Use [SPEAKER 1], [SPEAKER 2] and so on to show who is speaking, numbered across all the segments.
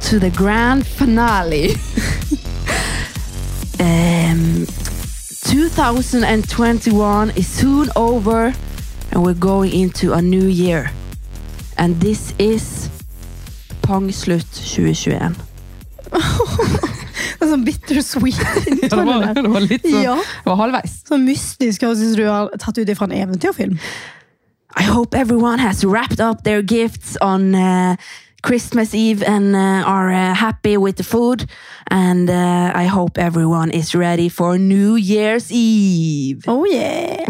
[SPEAKER 1] to the grand finale. um, 2021 is soon over, and we're going into a new year. And this is Pang Slutt 2021.
[SPEAKER 2] Det er sånn bittersweet
[SPEAKER 3] Ja, det, var, det var litt sånn,
[SPEAKER 2] Ja.
[SPEAKER 3] det var halvveis.
[SPEAKER 2] Sånn mystisk høres ut som du har tatt ut ifra en eventyrfilm.
[SPEAKER 1] I hope everyone has wrapped up their gifts on uh, Christmas Eve and uh, are uh, happy with the food. And uh, I hope everyone is ready for New Year's Eve.
[SPEAKER 2] Oh yeah!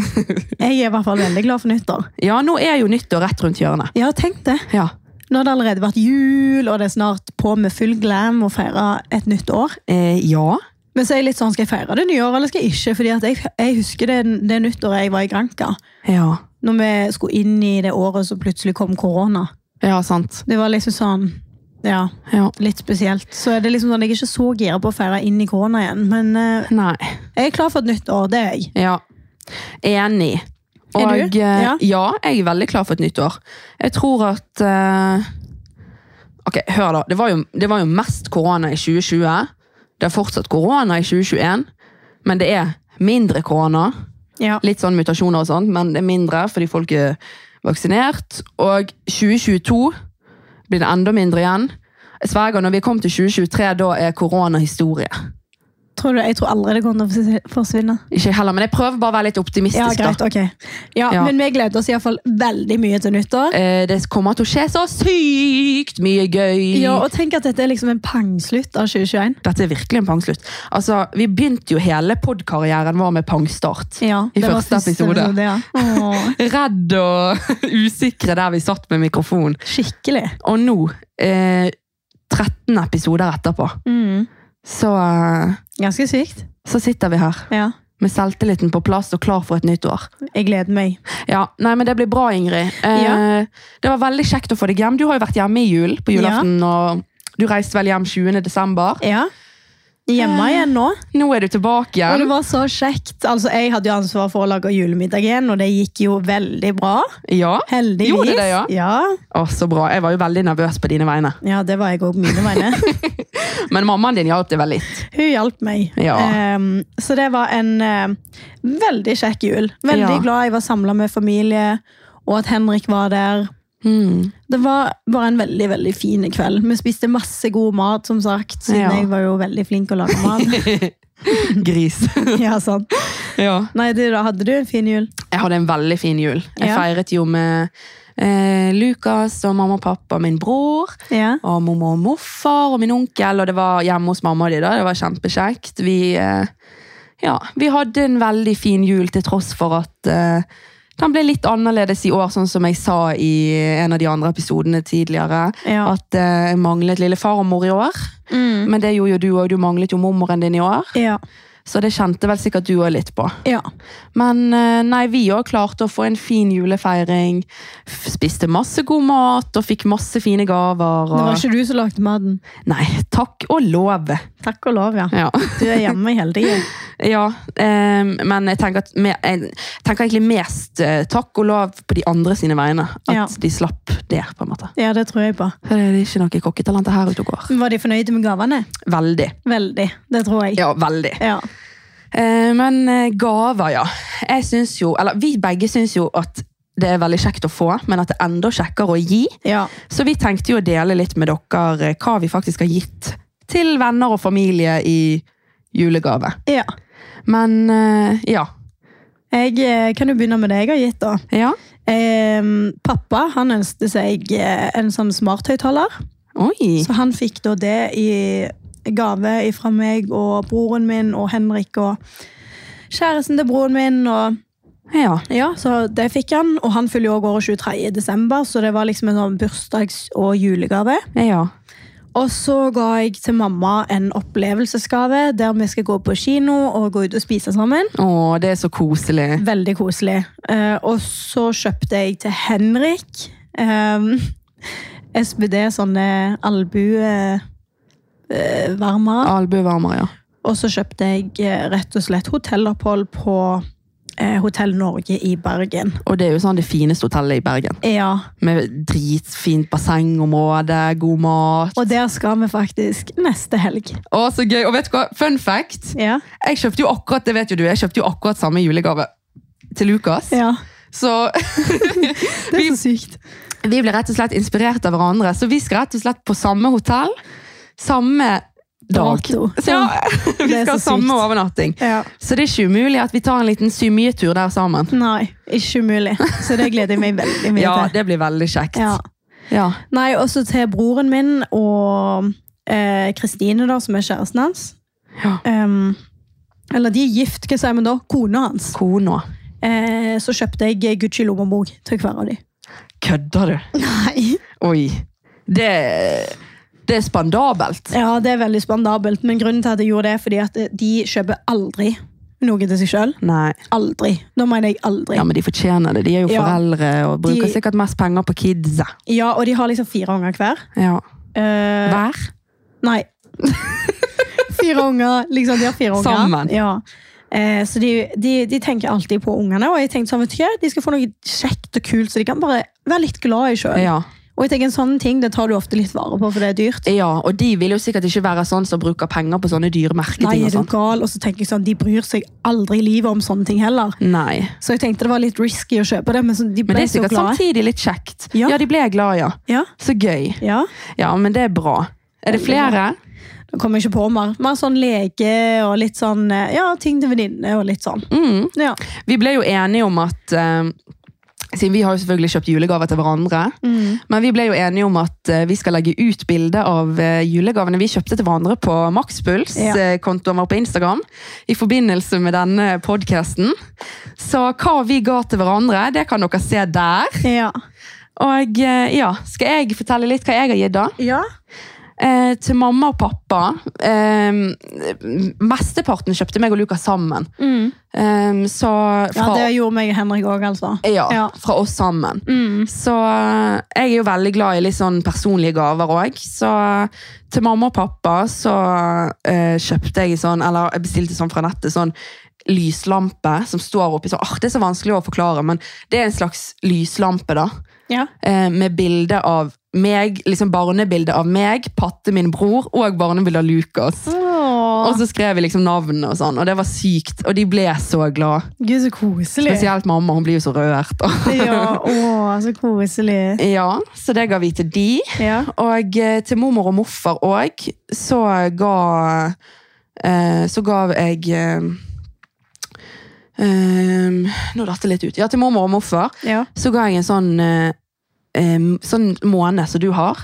[SPEAKER 2] Jeg er i hvert fall veldig glad for nyttår.
[SPEAKER 1] Ja, nå er jo nyttår rett rundt hjørnet.
[SPEAKER 2] Ja, tenk det.
[SPEAKER 1] Ja.
[SPEAKER 2] Nå har det allerede vært jul, og det er snart på med full glam å feire et nytt år.
[SPEAKER 1] Eh, ja.
[SPEAKER 2] Men så er jeg litt sånn, skal jeg feire det nye året, eller skal jeg ikke? Fordi at jeg, jeg husker det, det nyttåret jeg var i Granca.
[SPEAKER 1] Ja.
[SPEAKER 2] Når vi skulle inn i det året som plutselig kom korona.
[SPEAKER 1] Ja, sant.
[SPEAKER 2] Det var liksom sånn, ja,
[SPEAKER 1] Ja.
[SPEAKER 2] litt spesielt. Så er det liksom sånn, jeg er ikke så gira på å feire inn i korona igjen. Men eh,
[SPEAKER 1] Nei.
[SPEAKER 2] jeg er klar for et nytt år, det er jeg.
[SPEAKER 1] Ja. Enig.
[SPEAKER 2] Er du?
[SPEAKER 1] Og, eh,
[SPEAKER 2] Ja.
[SPEAKER 1] ja, jeg er veldig klar for et nytt år. Jeg tror at eh, Ok, hør da. Det var, jo, det var jo mest korona i 2020. Det er fortsatt korona i 2021, men det er mindre korona.
[SPEAKER 2] Ja.
[SPEAKER 1] Litt sånn mutasjoner og sånt, men det er mindre fordi folk er vaksinert. Og 2022 blir det enda mindre igjen. Jeg sverger, når vi kom til 2023, da er korona historie.
[SPEAKER 2] Tror du, jeg tror aldri det kommer til å forsvinne.
[SPEAKER 1] Ikke jeg heller, men jeg prøver bare å være litt optimistisk.
[SPEAKER 2] Ja,
[SPEAKER 1] da.
[SPEAKER 2] greit, ok. Ja,
[SPEAKER 1] Ja.
[SPEAKER 2] Men vi gleder oss i hvert fall veldig mye til nyttår.
[SPEAKER 1] Eh, det kommer til å skje så sykt mye gøy.
[SPEAKER 2] Ja, og tenk at dette er liksom en pangslutt av 2021.
[SPEAKER 1] Dette er virkelig en pangslutt. Altså, vi begynte jo hele podkarrieren vår med pangstart.
[SPEAKER 2] Ja,
[SPEAKER 1] I første episode.
[SPEAKER 2] ja. Åh,
[SPEAKER 1] Redd og usikre der vi satt med mikrofon.
[SPEAKER 2] skikkelig.
[SPEAKER 1] Og nå, eh, 13 episoder etterpå, Mm. så, eh,
[SPEAKER 2] Ganske sykt.
[SPEAKER 1] så sitter vi her
[SPEAKER 2] Ja.
[SPEAKER 1] med selvtilliten på plass og klar for et nytt år.
[SPEAKER 2] Jeg gleder meg.
[SPEAKER 1] Ja, nei, men Det blir bra, Ingrid. Eh,
[SPEAKER 2] Ja.
[SPEAKER 1] Det var veldig kjekt å få deg hjem. Du har jo vært hjemme i jul på julaften. og Du reiste vel hjem 20. desember.
[SPEAKER 2] Ja. Hjemme igjen nå.
[SPEAKER 1] Nå er du tilbake
[SPEAKER 2] Og det
[SPEAKER 1] igjen.
[SPEAKER 2] var så kjekt. Altså, jeg hadde jo ansvar for å lage julemiddag igjen, og det gikk jo veldig bra.
[SPEAKER 1] Ja.
[SPEAKER 2] Heldigvis.
[SPEAKER 1] Gjorde det, ja?
[SPEAKER 2] Ja,
[SPEAKER 1] Å, så bra. Jeg var jo veldig nervøs på dine vegne.
[SPEAKER 2] Ja, det var jeg òg på mine vegne.
[SPEAKER 1] Men mammaen din hjalp deg vel litt.
[SPEAKER 2] Hun hjalp meg.
[SPEAKER 1] Ja.
[SPEAKER 2] Ehm, så det var en eh, veldig kjekk jul. Veldig
[SPEAKER 1] Ja.
[SPEAKER 2] glad jeg var samla med familie, og at Henrik var der.
[SPEAKER 1] Hmm.
[SPEAKER 2] Det var bare en veldig veldig fin kveld. Vi spiste masse god mat, som sagt, siden
[SPEAKER 1] Ja.
[SPEAKER 2] jeg var jo veldig flink å lage mat.
[SPEAKER 1] Gris.
[SPEAKER 2] ja, sant.
[SPEAKER 1] ja.
[SPEAKER 2] Nei, du, da hadde du en fin jul.
[SPEAKER 1] Jeg hadde en veldig fin jul. Jeg
[SPEAKER 2] Ja.
[SPEAKER 1] feiret jo med eh, Lukas og mamma og pappa, min bror,
[SPEAKER 2] Ja.
[SPEAKER 1] og mormor og morfar og min onkel, og det var hjemme hos mamma og de da. Det var kjempekjekt. Vi, eh, ja, vi hadde en veldig fin jul til tross for at eh, den ble litt annerledes i år, sånn som jeg sa i en av de andre episodene tidligere.
[SPEAKER 2] Ja. Mm.
[SPEAKER 1] At eh, jeg manglet lille far og mor i år. Men det gjorde jo du òg. Du manglet jo mormoren din i år.
[SPEAKER 2] Ja.
[SPEAKER 1] Så det kjente vel sikkert du òg litt på.
[SPEAKER 2] ja.
[SPEAKER 1] Men eh, nei, vi òg klarte å få en fin julefeiring. F- Spiste masse god mat og fikk masse fine gaver.
[SPEAKER 2] Det var
[SPEAKER 1] Og...
[SPEAKER 2] ikke du som lagde maten.
[SPEAKER 1] Nei, takk og lov.
[SPEAKER 2] Takk og lov, ja.
[SPEAKER 1] Ja.
[SPEAKER 2] Du er hjemme hele tiden.
[SPEAKER 1] ja eh, men jeg tenker, at, me- jeg tenker egentlig mest eh, takk og lov på de andre sine vegne. At
[SPEAKER 2] Ja.
[SPEAKER 1] de slapp det, på en måte.
[SPEAKER 2] Ja, det tror jeg på.
[SPEAKER 1] For Det er ikke noe kokketalent her ute og går.
[SPEAKER 2] Var de fornøyde med gavene?
[SPEAKER 1] Veldig.
[SPEAKER 2] Veldig. Det tror jeg.
[SPEAKER 1] Ja, veldig.
[SPEAKER 2] Ja.
[SPEAKER 1] Eh, Men eh, gaver, ja. Jeg synes jo, eller Vi begge syns jo at det er veldig kjekt å få, men at det er enda kjekkere å gi.
[SPEAKER 2] ja.
[SPEAKER 1] Så vi tenkte jo å dele litt med dere eh, hva vi faktisk har gitt til venner og familie i julegave.
[SPEAKER 2] ja.
[SPEAKER 1] Men eh, ja.
[SPEAKER 2] Jeg eh, kan jo begynne med det jeg har gitt. da.
[SPEAKER 1] Ja.
[SPEAKER 2] Ehm, pappa han ønsket seg eh, en sånn smarthøyttaler,
[SPEAKER 1] Oi.
[SPEAKER 2] så han fikk da det i gave fra meg og broren min og Henrik og kjæresten til broren min. og
[SPEAKER 1] Ja.
[SPEAKER 2] ja, Så det fikk han, og han fyller jo også året 23. desember, så det var liksom en sånn bursdags- og julegave.
[SPEAKER 1] Ja.
[SPEAKER 2] Og så ga jeg til mamma en opplevelsesgave der vi skal gå på kino og gå ut og spise sammen.
[SPEAKER 1] Å, det er så koselig.
[SPEAKER 2] Veldig koselig. Eh, og så kjøpte jeg til Henrik eh, SBD sånne albuevarmere. Eh, varmere.
[SPEAKER 1] Albuevarmer, ja.
[SPEAKER 2] og så kjøpte jeg eh, rett og slett hotellopphold på eh, Hotell Norge i Bergen.
[SPEAKER 1] Og det er jo sånn det fineste hotellet i Bergen.
[SPEAKER 2] Ja,
[SPEAKER 1] Med dritfint bassengområde, god mat.
[SPEAKER 2] og der skal vi faktisk neste helg.
[SPEAKER 1] Å, så gøy. Og vet du hva? Fun fact.
[SPEAKER 2] Ja.
[SPEAKER 1] Jeg kjøpte jo akkurat det vet jo du, jeg kjøpte jo akkurat samme julegave til Lukas.
[SPEAKER 2] ja.
[SPEAKER 1] Så
[SPEAKER 2] Det er så sykt.
[SPEAKER 1] vi ble rett og slett inspirert av hverandre. Så vi skal rett og slett på samme hotell samme dag.
[SPEAKER 2] Dato.
[SPEAKER 1] Så ja, vi
[SPEAKER 2] Det er
[SPEAKER 1] skal ha
[SPEAKER 2] så sykt.
[SPEAKER 1] samme overnatting.
[SPEAKER 2] Ja.
[SPEAKER 1] Så det er ikke umulig at vi tar en liten symjetur der sammen.
[SPEAKER 2] Nei, ikke umulig. Så det gleder jeg meg veldig mye
[SPEAKER 1] Ja,
[SPEAKER 2] til.
[SPEAKER 1] det blir veldig kjekt.
[SPEAKER 2] Ja.
[SPEAKER 1] Ja.
[SPEAKER 2] Nei, også til broren min og eh, Kristine, da, som er kjæresten hans.
[SPEAKER 1] Ja.
[SPEAKER 2] Em, eller de er gift, hva sier man da? Kona hans.
[SPEAKER 1] Kona.
[SPEAKER 2] Eh, så kjøpte jeg Gucci lommebok til hver av de.
[SPEAKER 1] Kødder du?
[SPEAKER 2] Nei.
[SPEAKER 1] Oi. Det, det er spandabelt.
[SPEAKER 2] Ja, det er veldig spandabelt, men grunnen til at jeg gjorde det, er fordi at eh, de kjøper aldri noe til seg sjøl.
[SPEAKER 1] Nei.
[SPEAKER 2] Aldri. Da mener jeg aldri.
[SPEAKER 1] Ja,
[SPEAKER 2] Ja.
[SPEAKER 1] men de fortjener det. De er jo
[SPEAKER 2] Ja.
[SPEAKER 1] foreldre og bruker
[SPEAKER 2] De-
[SPEAKER 1] sikkert mest penger på kidsa.
[SPEAKER 2] og de har liksom fire unger hver.
[SPEAKER 1] Ja.
[SPEAKER 2] Eh,
[SPEAKER 1] Hver?
[SPEAKER 2] Nei. Fire unger. Liksom, de har fire unger.
[SPEAKER 1] Sammen.
[SPEAKER 2] Ja. Eh, så de, de, de tenker alltid på ungene, og jeg tenkte sånn, vet du hva, de skal få noe kjekt og kult, så de kan bare være litt glad i sjøl.
[SPEAKER 1] Ja.
[SPEAKER 2] Og jeg tenker en sånn ting, det tar du ofte litt vare på, for det er dyrt.
[SPEAKER 1] ja. Og de vil jo sikkert ikke være sånn som bruker penger på sånne dyre
[SPEAKER 2] Nei,
[SPEAKER 1] merketing og
[SPEAKER 2] er du
[SPEAKER 1] sånn.
[SPEAKER 2] gal? Og så tenker jeg sånn, de bryr seg aldri i livet om sånne ting heller.
[SPEAKER 1] Nei.
[SPEAKER 2] Så jeg tenkte det var litt risky å kjøpe det, men så, de
[SPEAKER 1] Men
[SPEAKER 2] ble
[SPEAKER 1] det er
[SPEAKER 2] så
[SPEAKER 1] sikkert
[SPEAKER 2] glad.
[SPEAKER 1] samtidig litt kjekt.
[SPEAKER 2] Ja.
[SPEAKER 1] Ja, de ble glad, ja.
[SPEAKER 2] Ja,
[SPEAKER 1] Så gøy.
[SPEAKER 2] ja.
[SPEAKER 1] Ja, men det er bra. Er det
[SPEAKER 2] Veldig
[SPEAKER 1] flere?
[SPEAKER 2] Nå kommer jeg ikke på mer. Mer sånn leke og litt sånn, eh, ja, ting til venninne og litt sånn.
[SPEAKER 1] Mm.
[SPEAKER 2] Ja.
[SPEAKER 1] Vi ble jo enige om at eh, Siden vi har jo selvfølgelig kjøpt julegaver til hverandre.
[SPEAKER 2] Mm.
[SPEAKER 1] Men vi ble jo enige om at eh, vi skal legge ut bilde av eh, julegavene vi kjøpte til hverandre på
[SPEAKER 2] Ja.
[SPEAKER 1] Maxpuls-kontoen vår på Instagram. I forbindelse med denne podkasten. Så hva vi ga til hverandre, det kan dere se der.
[SPEAKER 2] Ja.
[SPEAKER 1] Og eh, ja, skal jeg fortelle litt hva jeg har gitt, da?
[SPEAKER 2] Ja.
[SPEAKER 1] Eh, til mamma og pappa eh, Mesteparten kjøpte meg og Lukas sammen.
[SPEAKER 2] Mm.
[SPEAKER 1] Eh, så
[SPEAKER 2] Ja,
[SPEAKER 1] fra,
[SPEAKER 2] det gjorde meg og Henrik òg, altså.
[SPEAKER 1] ja,
[SPEAKER 2] Ja.
[SPEAKER 1] fra oss sammen.
[SPEAKER 2] Mm.
[SPEAKER 1] Så eh, jeg er jo veldig glad i litt sånn personlige gaver òg. Så eh, til mamma og pappa så eh, kjøpte jeg sånn, eller jeg bestilte sånn fra nettet, sånn lyslampe som står oppi sånn ah, Det er så vanskelig å forklare, men det er en slags lyslampe, da.
[SPEAKER 2] Ja.
[SPEAKER 1] Eh, med bilde av meg, liksom barnebilde av meg, Patte, min bror, og barnebilde av Lukas. Og så skrev vi liksom navn og sånn, og det var sykt. Og de ble så glad.
[SPEAKER 2] Gud, så koselig.
[SPEAKER 1] Spesielt mamma, hun blir jo så rørt.
[SPEAKER 2] Ja, å, så koselig.
[SPEAKER 1] ja, så det ga vi til de.
[SPEAKER 2] Ja.
[SPEAKER 1] Og eh, til mormor og morfar òg, så ga eh, Så gav jeg eh, eh, Nå datt det litt ut. Ja, til mormor og morfar
[SPEAKER 2] Ja.
[SPEAKER 1] så ga jeg en sånn eh, eh, Sånn måne som du har.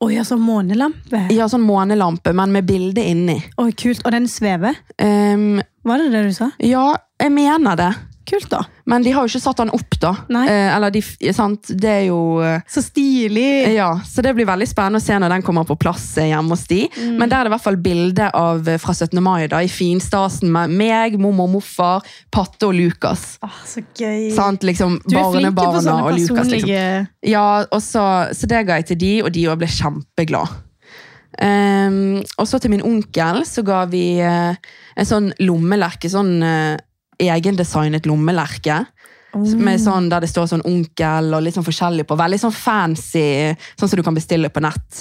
[SPEAKER 2] Å ja, så månelampe.
[SPEAKER 1] Ja, sånn månelampe, men med bilde inni.
[SPEAKER 2] Å, kult. Og den svever.
[SPEAKER 1] Eh,
[SPEAKER 2] Var det det du sa?
[SPEAKER 1] ja, jeg mener det.
[SPEAKER 2] Kult, da.
[SPEAKER 1] Men de har jo ikke satt den opp, da.
[SPEAKER 2] Nei.
[SPEAKER 1] Eh, eller de, f- sant? Det er jo eh,
[SPEAKER 2] Så stilig.
[SPEAKER 1] Ja, Så det blir veldig spennende å se når den kommer på plass eh, hjemme hos de.
[SPEAKER 2] Mm.
[SPEAKER 1] Men der er det i hvert fall bilde av eh, fra 17. mai da, i finstasen med meg, mormor, morfar, Patte og Lukas.
[SPEAKER 2] Åh, så gøy.
[SPEAKER 1] Sant? Liksom,
[SPEAKER 2] Mm. Du er flink på
[SPEAKER 1] Barnebarna
[SPEAKER 2] sånne
[SPEAKER 1] og Lukas. Liksom.
[SPEAKER 2] personlige
[SPEAKER 1] Ja, og så, så det ga jeg til de, og de også ble kjempeglad. Ehm, og så til min onkel så ga vi eh, en sånn lommelerke, sånn eh, egendesignet lommelerke. Med sånn Der det står sånn onkel og litt sånn forskjellig på. Veldig sånn fancy, sånn som du kan bestille på nett.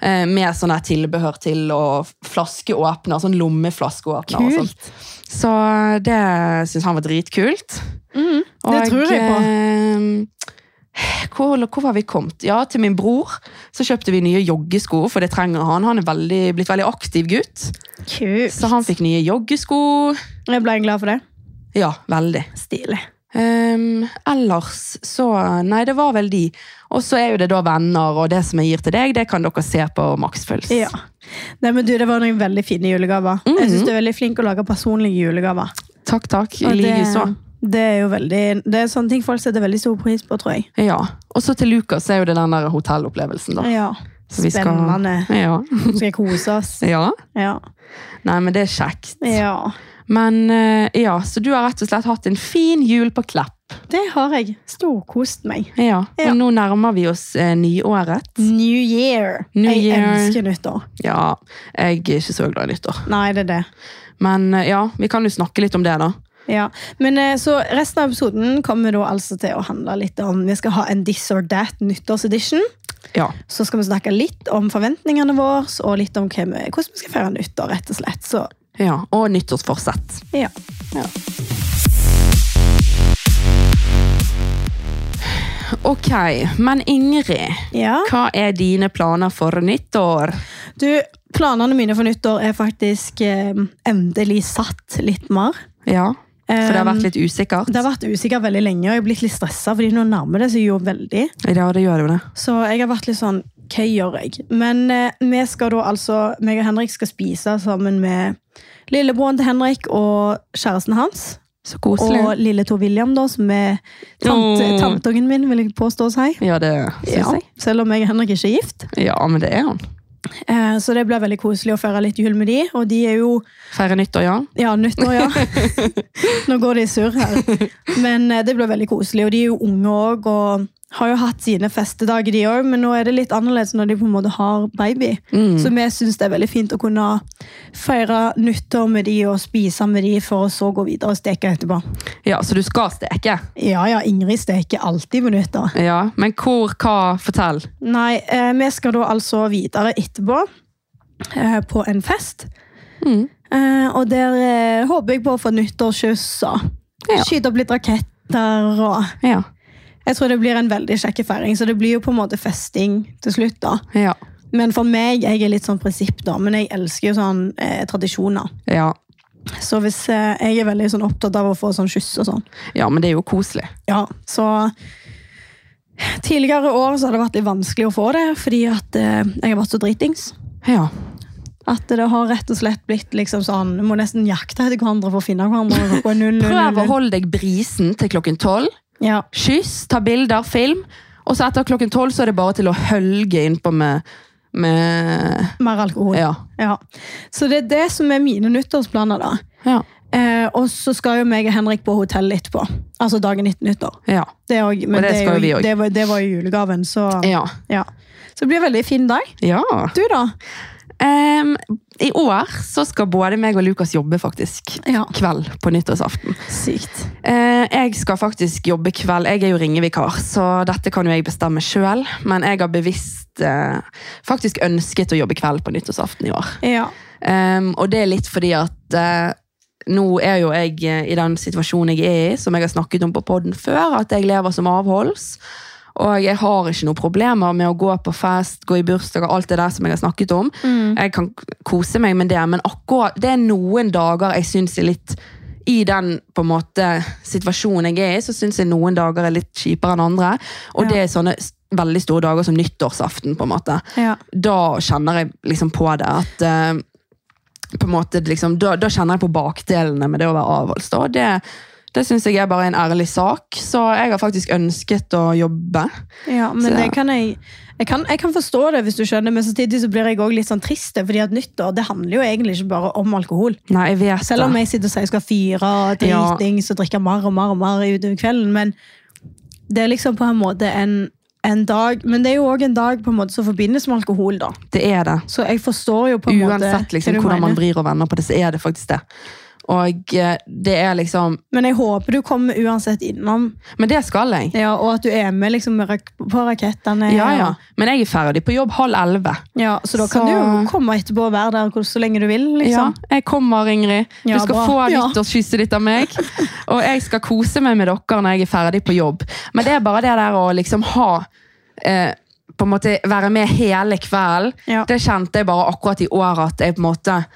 [SPEAKER 1] Eh, med sånn her tilbehør til og flaskeåpner, sånn lommeflaskeåpner. og sånt.
[SPEAKER 2] Kult.
[SPEAKER 1] Så eh, det syns han var dritkult.
[SPEAKER 2] Mm. Det tror jeg på.
[SPEAKER 1] på. eh, Hvor, hvor var vi kommet? Ja, Til min bror så kjøpte vi nye joggesko, for det trenger han. Han er veldig, blitt veldig aktiv gutt,
[SPEAKER 2] Kult.
[SPEAKER 1] så han fikk nye joggesko.
[SPEAKER 2] Jeg ble glad for det.
[SPEAKER 1] Ja, veldig.
[SPEAKER 2] Stilig.
[SPEAKER 1] Ehm, ellers så Nei, det var vel de. Og så er jo det da venner, og det som jeg gir til deg, det kan dere se på Maxpuls.
[SPEAKER 2] Ja. Nei, men du, Det var noen veldig fine julegaver. Jeg synes Du er veldig flink å lage personlige julegaver.
[SPEAKER 1] Takk, takk. I
[SPEAKER 2] Og
[SPEAKER 1] like
[SPEAKER 2] det-
[SPEAKER 1] så.
[SPEAKER 2] Det er jo veldig, det er sånne ting folk setter veldig stor pris på, tror jeg.
[SPEAKER 1] Ja. Og så til Lukas er jo det den der hotellopplevelsen, da.
[SPEAKER 2] Ja.
[SPEAKER 1] Så vi skal-
[SPEAKER 2] Spennende.
[SPEAKER 1] Ja.
[SPEAKER 2] Skal jeg kose oss?
[SPEAKER 1] ja.
[SPEAKER 2] Ja.
[SPEAKER 1] Nei, men det er kjekt.
[SPEAKER 2] ja.
[SPEAKER 1] Men eh, ja, så du har rett og slett hatt en fin jul på Klepp.
[SPEAKER 2] Det har jeg. Storkost meg.
[SPEAKER 1] Ja.
[SPEAKER 2] Ja.
[SPEAKER 1] Og nå nærmer vi oss eh, nyåret.
[SPEAKER 2] New year.
[SPEAKER 1] New
[SPEAKER 2] jeg
[SPEAKER 1] year.
[SPEAKER 2] elsker nyttår.
[SPEAKER 1] Ja, jeg er ikke så glad i nyttår.
[SPEAKER 2] Nei, det er det.
[SPEAKER 1] Men eh, ja, vi kan jo snakke litt om det, da.
[SPEAKER 2] Ja, men eh, så Resten av episoden kommer da altså til å handle litt om Vi skal ha en This or That nyttårsedition.
[SPEAKER 1] Ja.
[SPEAKER 2] Så skal vi snakke litt om forventningene våre og litt om hva vi, hvordan vi skal feire nyttår. rett og slett. Så
[SPEAKER 1] ja. Og nyttårsforsett.
[SPEAKER 2] ja.
[SPEAKER 1] Ok, men Ingrid,
[SPEAKER 2] ja.
[SPEAKER 1] hva er dine planer for nyttår?
[SPEAKER 2] Du, planene mine for nyttår er faktisk eh, endelig satt litt mer.
[SPEAKER 1] Ja, for det har vært
[SPEAKER 2] Eh,
[SPEAKER 1] litt usikkert.
[SPEAKER 2] det har vært usikker veldig lenge, og jeg har blitt litt stressa, fordi nå nærmer det seg jo veldig.
[SPEAKER 1] Ja, det gjør jo det.
[SPEAKER 2] Så jeg har vært litt sånn Hva gjør jeg? Men eh, vi skal da altså meg og Henrik skal spise sammen med lillebroren til Henrik og kjæresten hans.
[SPEAKER 1] Så koselig.
[SPEAKER 2] Og lille Tor William, da, som er tante,
[SPEAKER 1] Åh.
[SPEAKER 2] tanteungen min, vil jeg påstå å si.
[SPEAKER 1] Ja, det syns
[SPEAKER 2] Ja,
[SPEAKER 1] jeg.
[SPEAKER 2] selv om jeg og Henrik ikke er gift.
[SPEAKER 1] Ja, men det er han.
[SPEAKER 2] Eh, så det blir veldig koselig å feire litt jul med de, og de er jo
[SPEAKER 1] Feire nyttår, ja.
[SPEAKER 2] Ja, nyttår, ja. Nå går det i surr her. Men eh, det blir veldig koselig, og de er jo unge òg. Og har jo hatt sine festedager, de òg, men nå er det litt annerledes når de på en måte har baby.
[SPEAKER 1] Mm.
[SPEAKER 2] Så vi syns det er veldig fint å kunne feire nyttår med de og spise med de, for å så gå videre og steke etterpå.
[SPEAKER 1] Ja, Så du skal steke?
[SPEAKER 2] Ja ja, Ingrid steker alltid på nyttår.
[SPEAKER 1] Ja, Men hvor, hva? Fortell.
[SPEAKER 2] Nei, eh, vi skal da altså videre etterpå eh, på en fest.
[SPEAKER 1] Mm.
[SPEAKER 2] Eh, og der eh, håper jeg på å få nyttårskyss og
[SPEAKER 1] Ja.
[SPEAKER 2] skyte opp litt raketter. Og
[SPEAKER 1] Ja.
[SPEAKER 2] jeg tror det blir en veldig kjekk feiring, så det blir jo på en måte festing til slutt. da.
[SPEAKER 1] Ja.
[SPEAKER 2] Men for meg, jeg er litt sånn prinsipp, da, men jeg elsker jo sånn eh, tradisjoner.
[SPEAKER 1] ja.
[SPEAKER 2] Så hvis eh, jeg er veldig sånn opptatt av å få sånn kyss og sånn,
[SPEAKER 1] Ja, men det er jo koselig.
[SPEAKER 2] ja, så Tidligere år så har det vært litt vanskelig å få det, fordi at eh, jeg har vært så dritings.
[SPEAKER 1] Ja.
[SPEAKER 2] At det har rett og slett blitt liksom sånn Vi må nesten jakte etter hverandre for å finne hverandre. og gå null, null, null,
[SPEAKER 1] Prøv å
[SPEAKER 2] null.
[SPEAKER 1] holde deg brisen til klokken tolv.
[SPEAKER 2] Ja.
[SPEAKER 1] Kyss, ta bilder, film. Og så etter klokken tolv så er det bare til å hølge innpå med, med
[SPEAKER 2] Mer alkohol. Ja.
[SPEAKER 1] Ja.
[SPEAKER 2] Så det er det som er mine nyttårsplaner, da.
[SPEAKER 1] Ja.
[SPEAKER 2] Eh, og så skal jo meg og Henrik på hotell etterpå. Altså dagen etter nyttår.
[SPEAKER 1] Ja.
[SPEAKER 2] Det er også- men
[SPEAKER 1] Og det
[SPEAKER 2] er
[SPEAKER 1] skal
[SPEAKER 2] jo-
[SPEAKER 1] vi også.
[SPEAKER 2] Det, var- det var jo julegaven, så
[SPEAKER 1] ja.
[SPEAKER 2] ja. Så det blir en veldig fin dag.
[SPEAKER 1] ja.
[SPEAKER 2] Du, da?
[SPEAKER 1] Em, I år så skal både meg og Lukas jobbe, faktisk.
[SPEAKER 2] Ja.
[SPEAKER 1] Kveld på nyttårsaften.
[SPEAKER 2] Sykt.
[SPEAKER 1] Eh, jeg skal faktisk jobbe kveld. Jeg er jo ringevikar, så dette kan jo jeg bestemme sjøl. Men jeg har bevisst eh, faktisk ønsket å jobbe kveld på nyttårsaften i år.
[SPEAKER 2] Ja.
[SPEAKER 1] Em, Ehm, og det er litt fordi at eh, nå er jo jeg eh, i den situasjonen jeg er i, som jeg har snakket om på podden før, at jeg lever som avholds. Og jeg har ikke noen problemer med å gå på fest, gå i bursdager, alt det der som jeg har snakket om.
[SPEAKER 2] Mm.
[SPEAKER 1] Jeg kan k- kose meg med det, men akkurat det er noen dager jeg syns er litt i den på en måte situasjonen jeg er i, så syns jeg noen dager er litt kjipere enn andre. Og
[SPEAKER 2] Ja.
[SPEAKER 1] det er sånne s- veldig store dager som nyttårsaften, på en måte
[SPEAKER 2] ja.
[SPEAKER 1] da kjenner jeg liksom på det at eh, på en måte liksom, da, da kjenner jeg på bakdelene med det å være avholds. Da. Og Det, det syns jeg er bare en ærlig sak, så jeg har faktisk ønsket å jobbe.
[SPEAKER 2] Ja, men
[SPEAKER 1] Så-
[SPEAKER 2] det kan jeg jeg kan, jeg kan forstå det, hvis du skjønner, men samtidig så blir jeg også litt sånn trist. fordi at nyttår det handler jo egentlig ikke bare om alkohol.
[SPEAKER 1] Nei, jeg vet
[SPEAKER 2] Selv om
[SPEAKER 1] det.
[SPEAKER 2] jeg sitter og sier jeg skal fyre og
[SPEAKER 1] Ja.
[SPEAKER 2] dritings og drikke mer og mer og mer utover kvelden, men det er liksom på en måte en, en dag Men det er jo òg en dag på en måte som forbindes med alkohol, da.
[SPEAKER 1] Det er det.
[SPEAKER 2] Så jeg forstår jo på en måte
[SPEAKER 1] Uansett liksom,
[SPEAKER 2] hva du
[SPEAKER 1] hvordan man
[SPEAKER 2] mener.
[SPEAKER 1] vrir og vender på det, så er det faktisk det. Og eh, det er liksom
[SPEAKER 2] Men jeg håper du kommer uansett innom,
[SPEAKER 1] Men det skal jeg.
[SPEAKER 2] ja, og at du er med liksom med rak på rakettene.
[SPEAKER 1] Ja, ja.
[SPEAKER 2] og-
[SPEAKER 1] Men jeg er ferdig på jobb halv elleve.
[SPEAKER 2] ja. Så da
[SPEAKER 1] Så-
[SPEAKER 2] kan du jo komme etterpå og være der hvor- så lenge du vil, liksom.
[SPEAKER 1] Ja, jeg kommer, Ingrid.
[SPEAKER 2] Ja,
[SPEAKER 1] du skal
[SPEAKER 2] bra.
[SPEAKER 1] få
[SPEAKER 2] Ja.
[SPEAKER 1] nyttårskysset ditt av meg. Og jeg skal kose meg med dere når jeg er ferdig på jobb. Men det er bare det der å liksom ha eh, på en måte Være med hele kvelden.
[SPEAKER 2] Ja.
[SPEAKER 1] Det kjente jeg bare akkurat i år at jeg på en måte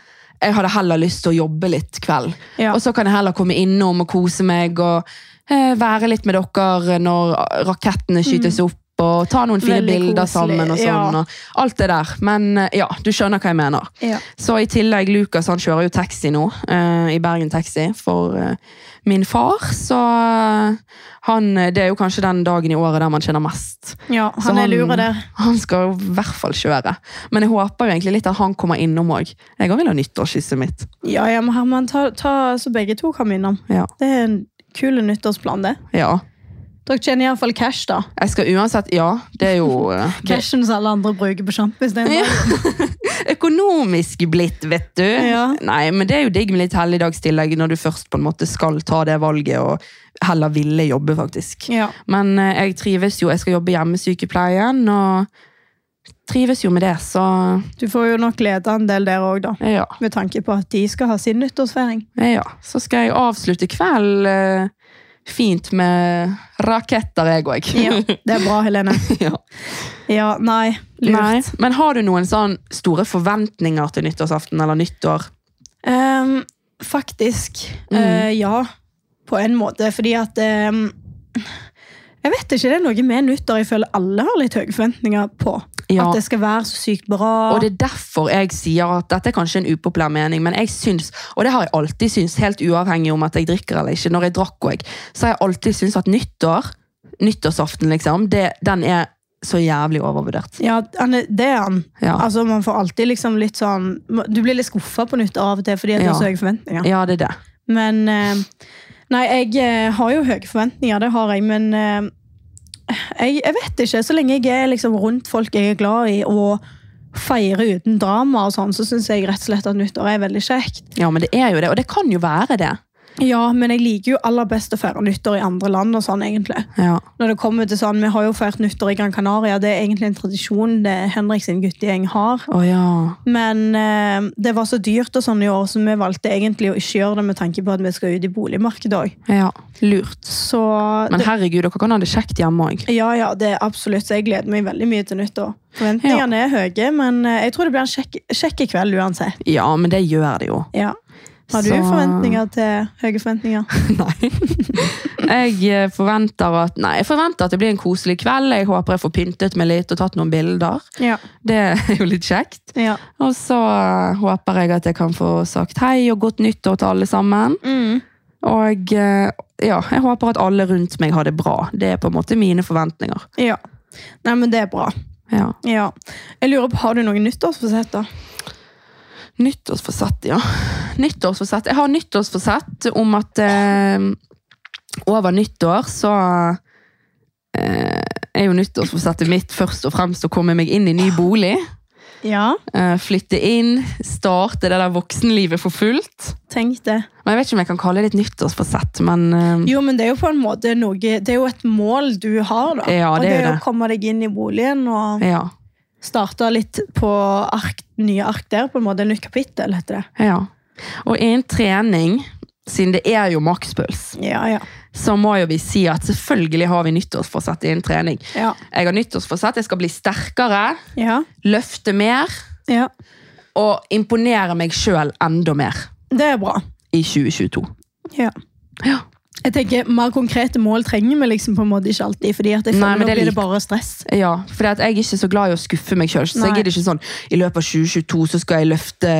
[SPEAKER 1] jeg hadde heller lyst til å jobbe litt kveld.
[SPEAKER 2] Ja.
[SPEAKER 1] Og så kan jeg heller komme innom og kose meg og eh, være litt med dere når rakettene skytes opp. Og ta noen fine
[SPEAKER 2] Mm. Veldig
[SPEAKER 1] bilder
[SPEAKER 2] koselig,
[SPEAKER 1] sammen. og
[SPEAKER 2] ja.
[SPEAKER 1] sånn. Og alt det der. Men eh, ja, du skjønner hva jeg mener.
[SPEAKER 2] Ja.
[SPEAKER 1] Så i tillegg, Lukas han kjører jo taxi nå, eh, i Bergen Taxi, for eh, min far. Så eh, han, det er jo kanskje den dagen i året der man tjener mest.
[SPEAKER 2] Ja,
[SPEAKER 1] Så
[SPEAKER 2] han er lure der.
[SPEAKER 1] Han skal jo i hvert fall kjøre. Men jeg håper jo egentlig litt at han kommer innom òg. Jeg òg vil ha nyttårskysset mitt.
[SPEAKER 2] Ja, ja, men Herman, ta, ta så begge to kommer innom.
[SPEAKER 1] Ja.
[SPEAKER 2] Det er en kul nyttårsplan, det.
[SPEAKER 1] ja.
[SPEAKER 2] Dere tjener iallfall cash, da.
[SPEAKER 1] Jeg skal uansett Ja, det er jo eh, det-
[SPEAKER 2] Cashen som alle andre bruker på sjampis. det er en
[SPEAKER 1] Ja. Økonomisk blitt, vet du.
[SPEAKER 2] Ja.
[SPEAKER 1] Nei, men det er jo digg med litt helligdagstillegg når du først på en måte skal ta det valget og heller ville jobbe, faktisk.
[SPEAKER 2] Ja.
[SPEAKER 1] Men eh, jeg trives jo, jeg skal jobbe hjemmesykepleien, og trives jo med det, så
[SPEAKER 2] Du får jo nok lede en del der òg, da.
[SPEAKER 1] ja.
[SPEAKER 2] Med tanke på at de skal ha sin nyttårsfeiring.
[SPEAKER 1] ja. Så skal jeg avslutte kvelden eh, fint med raketter, jeg òg.
[SPEAKER 2] Ja, det er bra, Helene.
[SPEAKER 1] Ja.
[SPEAKER 2] Ja, nei. Lurt.
[SPEAKER 1] Nei. Men har du noen sånn store forventninger til nyttårsaften eller nyttår?
[SPEAKER 2] Ehm, faktisk. eh,
[SPEAKER 1] Mm.
[SPEAKER 2] ja. På en måte. Fordi at ehm, Jeg vet ikke. Det er noe med nyttår jeg føler alle har litt høye forventninger på.
[SPEAKER 1] Ja.
[SPEAKER 2] At det skal være så sykt bra.
[SPEAKER 1] Og det er derfor jeg sier at dette er kanskje en upopulær mening, men jeg syns, og det har jeg alltid syntes, helt uavhengig om at jeg drikker eller ikke, når jeg drakk òg, så har jeg alltid syntes at nyttår, nyttårsaften, liksom, det, den er så jævlig overvurdert.
[SPEAKER 2] Ja, han er- det er han.
[SPEAKER 1] Ja.
[SPEAKER 2] Altså, man får alltid liksom litt sånn Du blir litt skuffa på nytt av og til fordi at det
[SPEAKER 1] Ja.
[SPEAKER 2] er så høye forventninger.
[SPEAKER 1] Ja, det er det.
[SPEAKER 2] Men eh, Nei, jeg eh, har jo høye forventninger, det har jeg, men eh, jeg, jeg vet ikke. Så lenge jeg er liksom rundt folk jeg er glad i, og feirer uten drama og sånn, så syns jeg rett og slett at nyttår er veldig kjekt.
[SPEAKER 1] Ja, men det er jo det, og det kan jo være det.
[SPEAKER 2] Ja, men jeg liker jo aller best å feire nyttår i andre land og sånn, egentlig.
[SPEAKER 1] Ja.
[SPEAKER 2] Når det kommer til sånn, Vi har jo feirt nyttår i Gran Canaria, det er egentlig en tradisjon det Henrik sin guttegjeng har.
[SPEAKER 1] Å ja.
[SPEAKER 2] Men eh, det var så dyrt og sånn i år, så vi valgte egentlig å ikke gjøre det med tanke på at vi skal ut i boligmarkedet òg.
[SPEAKER 1] ja. Lurt.
[SPEAKER 2] Så
[SPEAKER 1] Men
[SPEAKER 2] det,
[SPEAKER 1] herregud, dere kan ha det kjekt hjemme òg.
[SPEAKER 2] Ja, ja, det er absolutt. Så jeg gleder meg veldig mye til nyttår. Forventningene er høye, men eh, jeg tror det blir en kjekk, kjekk kveld uansett.
[SPEAKER 1] Ja, men det gjør det jo.
[SPEAKER 2] Ja. Har du
[SPEAKER 1] Så-
[SPEAKER 2] forventninger til høye forventninger?
[SPEAKER 1] Nei. jeg eh, forventer at Nei, jeg forventer at det blir en koselig kveld. Jeg håper jeg får pyntet meg litt og tatt noen bilder.
[SPEAKER 2] Ja.
[SPEAKER 1] Det er jo litt kjekt.
[SPEAKER 2] ja.
[SPEAKER 1] Og så eh, håper jeg at jeg kan få sagt hei og godt nyttår til alle sammen.
[SPEAKER 2] Mm.
[SPEAKER 1] Og eh, ja, jeg håper at alle rundt meg har det bra. Det er på en måte mine forventninger.
[SPEAKER 2] ja. Nei, men det er bra.
[SPEAKER 1] Ja.
[SPEAKER 2] Ja. Jeg lurer på, Har du noen nyttårsforsett, da?
[SPEAKER 1] Nyttårsforsett, ja. Nyttårsforsett. Jeg har nyttårsforsett om at eh, over nyttår så eh, er jo nyttårsforsettet mitt først og fremst å komme meg inn i ny bolig.
[SPEAKER 2] Ja,
[SPEAKER 1] Eh, flytte inn, starte det der voksenlivet for fullt.
[SPEAKER 2] tenk det.
[SPEAKER 1] Men Jeg vet ikke om jeg kan kalle det et nyttårsforsett, men eh,
[SPEAKER 2] Jo, men det er jo på en måte noe Det er jo et mål du har, da.
[SPEAKER 1] Ja,
[SPEAKER 2] og
[SPEAKER 1] det
[SPEAKER 2] det
[SPEAKER 1] er
[SPEAKER 2] er
[SPEAKER 1] jo
[SPEAKER 2] å
[SPEAKER 1] det.
[SPEAKER 2] komme deg inn i boligen og
[SPEAKER 1] eh, ja.
[SPEAKER 2] starte litt på ark, nye ark der, på en måte. Nytt kapittel, heter det.
[SPEAKER 1] ja. Og innen trening, siden det er jo makspuls,
[SPEAKER 2] Ja, ja.
[SPEAKER 1] så må jo vi si at selvfølgelig har vi nyttårsforsett innen trening.
[SPEAKER 2] Ja,
[SPEAKER 1] Jeg har nyttårsforsett, jeg skal bli sterkere,
[SPEAKER 2] ja,
[SPEAKER 1] løfte mer
[SPEAKER 2] ja.
[SPEAKER 1] og imponere meg sjøl enda mer
[SPEAKER 2] Det er bra.
[SPEAKER 1] i 2022.
[SPEAKER 2] Ja.
[SPEAKER 1] Ja.
[SPEAKER 2] Jeg tenker, Mer konkrete mål trenger vi liksom på en måte ikke alltid. fordi at jeg
[SPEAKER 1] Nei, men
[SPEAKER 2] føler Nå
[SPEAKER 1] det er
[SPEAKER 2] blir det
[SPEAKER 1] lik-
[SPEAKER 2] bare stress.
[SPEAKER 1] Ja, for jeg er ikke så glad i å skuffe meg sjøl. Så
[SPEAKER 2] Nei.
[SPEAKER 1] jeg gidder ikke sånn i løpet av 2022 så skal jeg løfte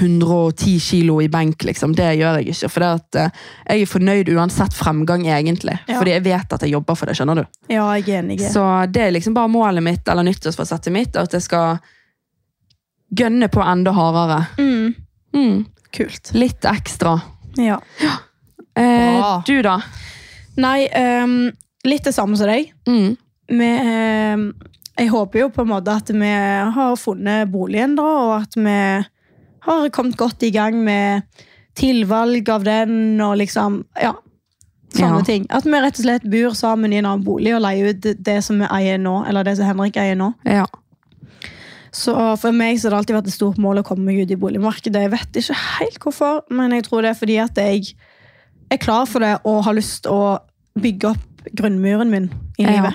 [SPEAKER 1] 110 kilo i benk, liksom. Det gjør jeg ikke. For det at, eh, jeg er fornøyd uansett fremgang, egentlig.
[SPEAKER 2] Ja.
[SPEAKER 1] Fordi jeg vet at jeg jobber for det, skjønner du.
[SPEAKER 2] Ja, jeg er enig.
[SPEAKER 1] Så det er liksom bare målet mitt, eller nyttårsforsettet mitt, at jeg skal gønne på enda hardere.
[SPEAKER 2] Mm,
[SPEAKER 1] Mm,
[SPEAKER 2] kult.
[SPEAKER 1] litt ekstra.
[SPEAKER 2] Ja.
[SPEAKER 1] Eh,
[SPEAKER 2] Bra.
[SPEAKER 1] du, da?
[SPEAKER 2] Nei, ehm, litt det samme som deg.
[SPEAKER 1] Mm.
[SPEAKER 2] Vi, ehm, jeg håper jo på en måte at vi har funnet boligen, da, og at vi har kommet godt i gang med tilvalg av den og liksom Ja, sånne
[SPEAKER 1] Ja.
[SPEAKER 2] ting. At vi rett og slett bor sammen i en annen bolig og leier ut det som vi eier nå, eller det som Henrik eier nå.
[SPEAKER 1] Ja.
[SPEAKER 2] Så for meg så har det alltid vært et stort mål å komme meg ut i boligmarkedet. Jeg vet ikke helt hvorfor, men jeg tror det er fordi at jeg er klar for det og har lyst å bygge opp grunnmuren min i
[SPEAKER 1] Ja.
[SPEAKER 2] livet.